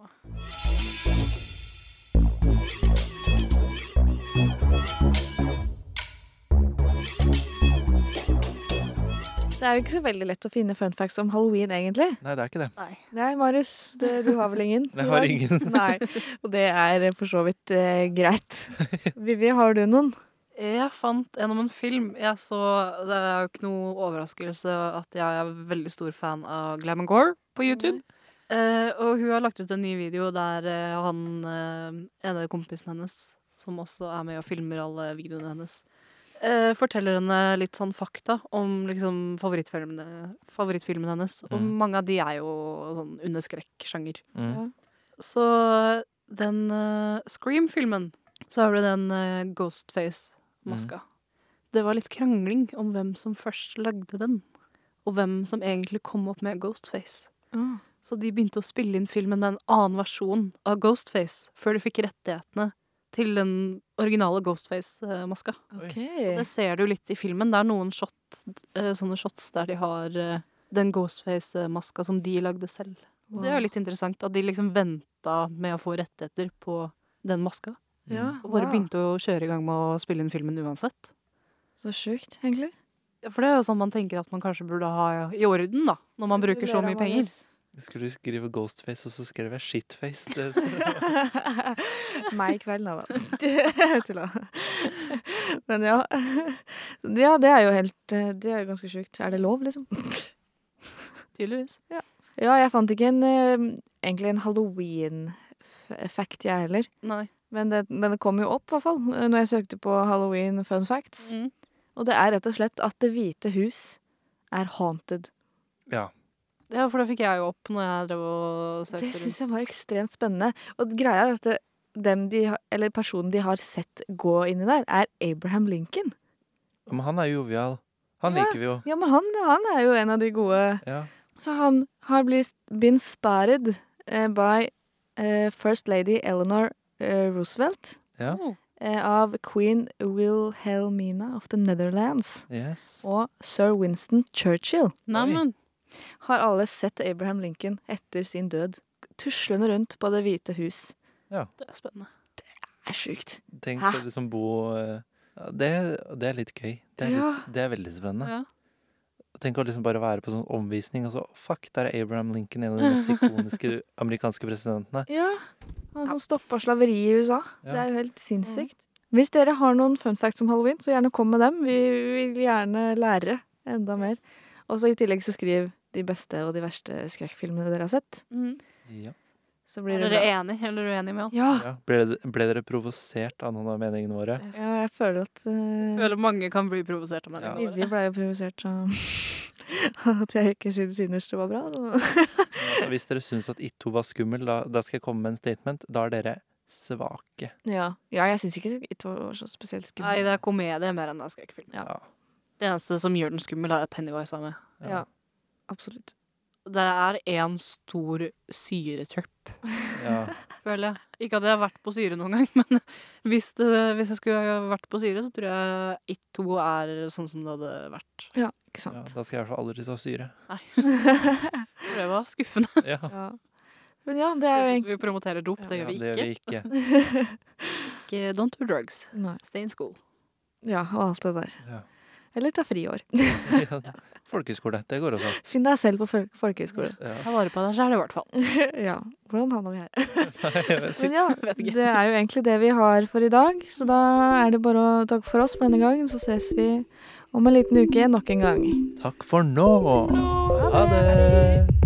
Det er jo ikke så veldig lett å finne fun facts om halloween, egentlig.
Nei, det er ikke det.
Nei.
Nei, Marius, det, du har vel ingen?
<laughs> Jeg
i
har
dag?
ingen.
<laughs> Nei, og det er for så vidt eh, greit.
<laughs>
Vivi, har du noen?
Jeg fant gjennom en film jeg så Det er jo ikke noe overraskelse at jeg er veldig stor fan av Glam and Gore på YouTube. Eh, og hun har lagt ut en ny video der eh, han eh, ene kompisen hennes, som også er med og filmer alle videoene hennes, eh, forteller henne litt sånn fakta om liksom favorittfilmene, favorittfilmen hennes. Og
Mm.
mange av de er jo sånn under skrekksjanger.
Mm.
Så den eh, Scream-filmen, så har du den eh, Ghostface-maska. Mm. Det var litt krangling om hvem som først lagde den, og hvem som egentlig kom opp med Ghostface. Så de begynte å spille inn filmen med en annen versjon av Ghostface før de fikk rettighetene til den originale Ghostface-maska.
OK.
Det ser du litt i filmen. Det er noen shot, eh, sånne shots der de har eh, den Ghostface-maska som de lagde selv. Og Det er jo litt interessant at de liksom venta med å få rettigheter på den maska.
ja,
Mm.
Og Mm. bare
wow.
begynte å kjøre i gang med å spille inn filmen uansett.
Så sjukt, egentlig.
Ja, For det er jo sånn man tenker at man kanskje burde ha i orden, da. Når man bruker så mye penger. <laughs>
Jeg skulle skrive Ghostface, og så skrev jeg Shitface. Det, så, <laughs>
Meg i kveld, nei <laughs> da. Tulla.
<laughs>
Men ja. <laughs> Ja, det er jo helt eh, Det er jo ganske sjukt. Er det lov, liksom?
Tydeligvis.
<laughs> Ja, jeg fant ikke en, eh, egentlig en halloween-fact, jeg heller.
Nei.
Men det, den kom jo opp, i hvert fall, eh, når jeg søkte på halloween fun facts.
Mm.
Og det er rett og slett at Det hvite hus er haunted.
ja.
Ja, for det fikk jeg jo opp når jeg drev og søkte
Det syns
rundt.
jeg var ekstremt spennende. Og greia er at det, dem de, har- eller personen de har sett gå inni der, er Abraham Lincoln.
Men han er jo jovial. Han
Ja.
liker vi jo.
Ja, men han, han er jo en av de gode
Ja.
Så han har blitt been spared eh, by eh, First Lady Eleanor eh, Roosevelt
Ja.
eh, av queen Wilhelmina of the Netherlands
Yes.
og sir Winston Churchill
Neimen.
har alle sett Abraham Lincoln etter sin død tuslende rundt på Det hvite hus.
Det er spennende.
Det er sjukt.
Tenk
Hæ?
å liksom bo eh, ja, det, det er litt gøy. Det er,
Ja.
litt, det er veldig spennende.
Ja.
Tenk å liksom bare være på sånn omvisning, og så fuck, der er Abraham Lincoln,
<laughs>
en av de mest ikoniske amerikanske presidentene.
Ja. Han som stoppa slaveri i USA.
Ja.
Det er jo helt sinnssykt. Hvis dere har noen fun facts om halloween, så gjerne kom med dem. Vi vil gjerne lære enda mer. Og så i tillegg så skriv de beste og de verste skrekkfilmene dere har sett.
Ja.
Så
Er
blir det
dere
bra.
enig eller uenig med oss?
Ja.
Ja. Ble, det- ble dere provosert av noen av meningene våre?
ja, jeg føler at eh,
Jeg føler mange kan bli provosert av meg.
Ja.
Vivi ble jo provosert av <laughs> at jeg ikke syntes innerst det var bra. så-
Altså, hvis dere syns at It2 var skummel, da, da skal jeg komme med en statement. Da er dere svake.
Ja, ja jeg syns ikke det var så spesielt
Nei,
skummelt.
det er komedie mer enn det er skrekkfilm.
Ja.
Ja.
Det eneste som gjør den skummel, er at Pennywise er med.
Ja, absolutt.
Det er én stor syretrøpp,
Ja.
føler jeg. Ikke at jeg har vært på syre noen gang, <laughs> men hvis, det, hvis jeg skulle ha vært på syre, så tror jeg It2 er sånn som det hadde vært.
Ja, ikke
Ja,
sant.
da skal jeg i hvert fall aldri ta syre.
For Det var skuffende.
Ja,
<laughs> Ja. Men ja, det er jo
Jeg
egentlig
synes vi promoterer dop, det
ja,
gjør vi
det gjør
ikke.
vi ikke.
ikke. Don't do drugs.
Nei.
Stay in school.
Ja, og alt det der.
Ja.
Eller ta friår.
Ja. Folkehøyskole, det går også.
<laughs> Finn deg selv på fol- folkehøyskole. <laughs>
Ja.
Ta vare på deg sjæl, i hvert fall.
Ja. Hvordan havna vi her?
Nei, jeg <laughs> vet
Men ja,
<laughs> Vet ikke.
det er jo egentlig det vi har for i dag. Så da er det bare å takke for oss for denne gangen. Så ses vi om en liten uke nok en gang.
Takk for nå. Ha det.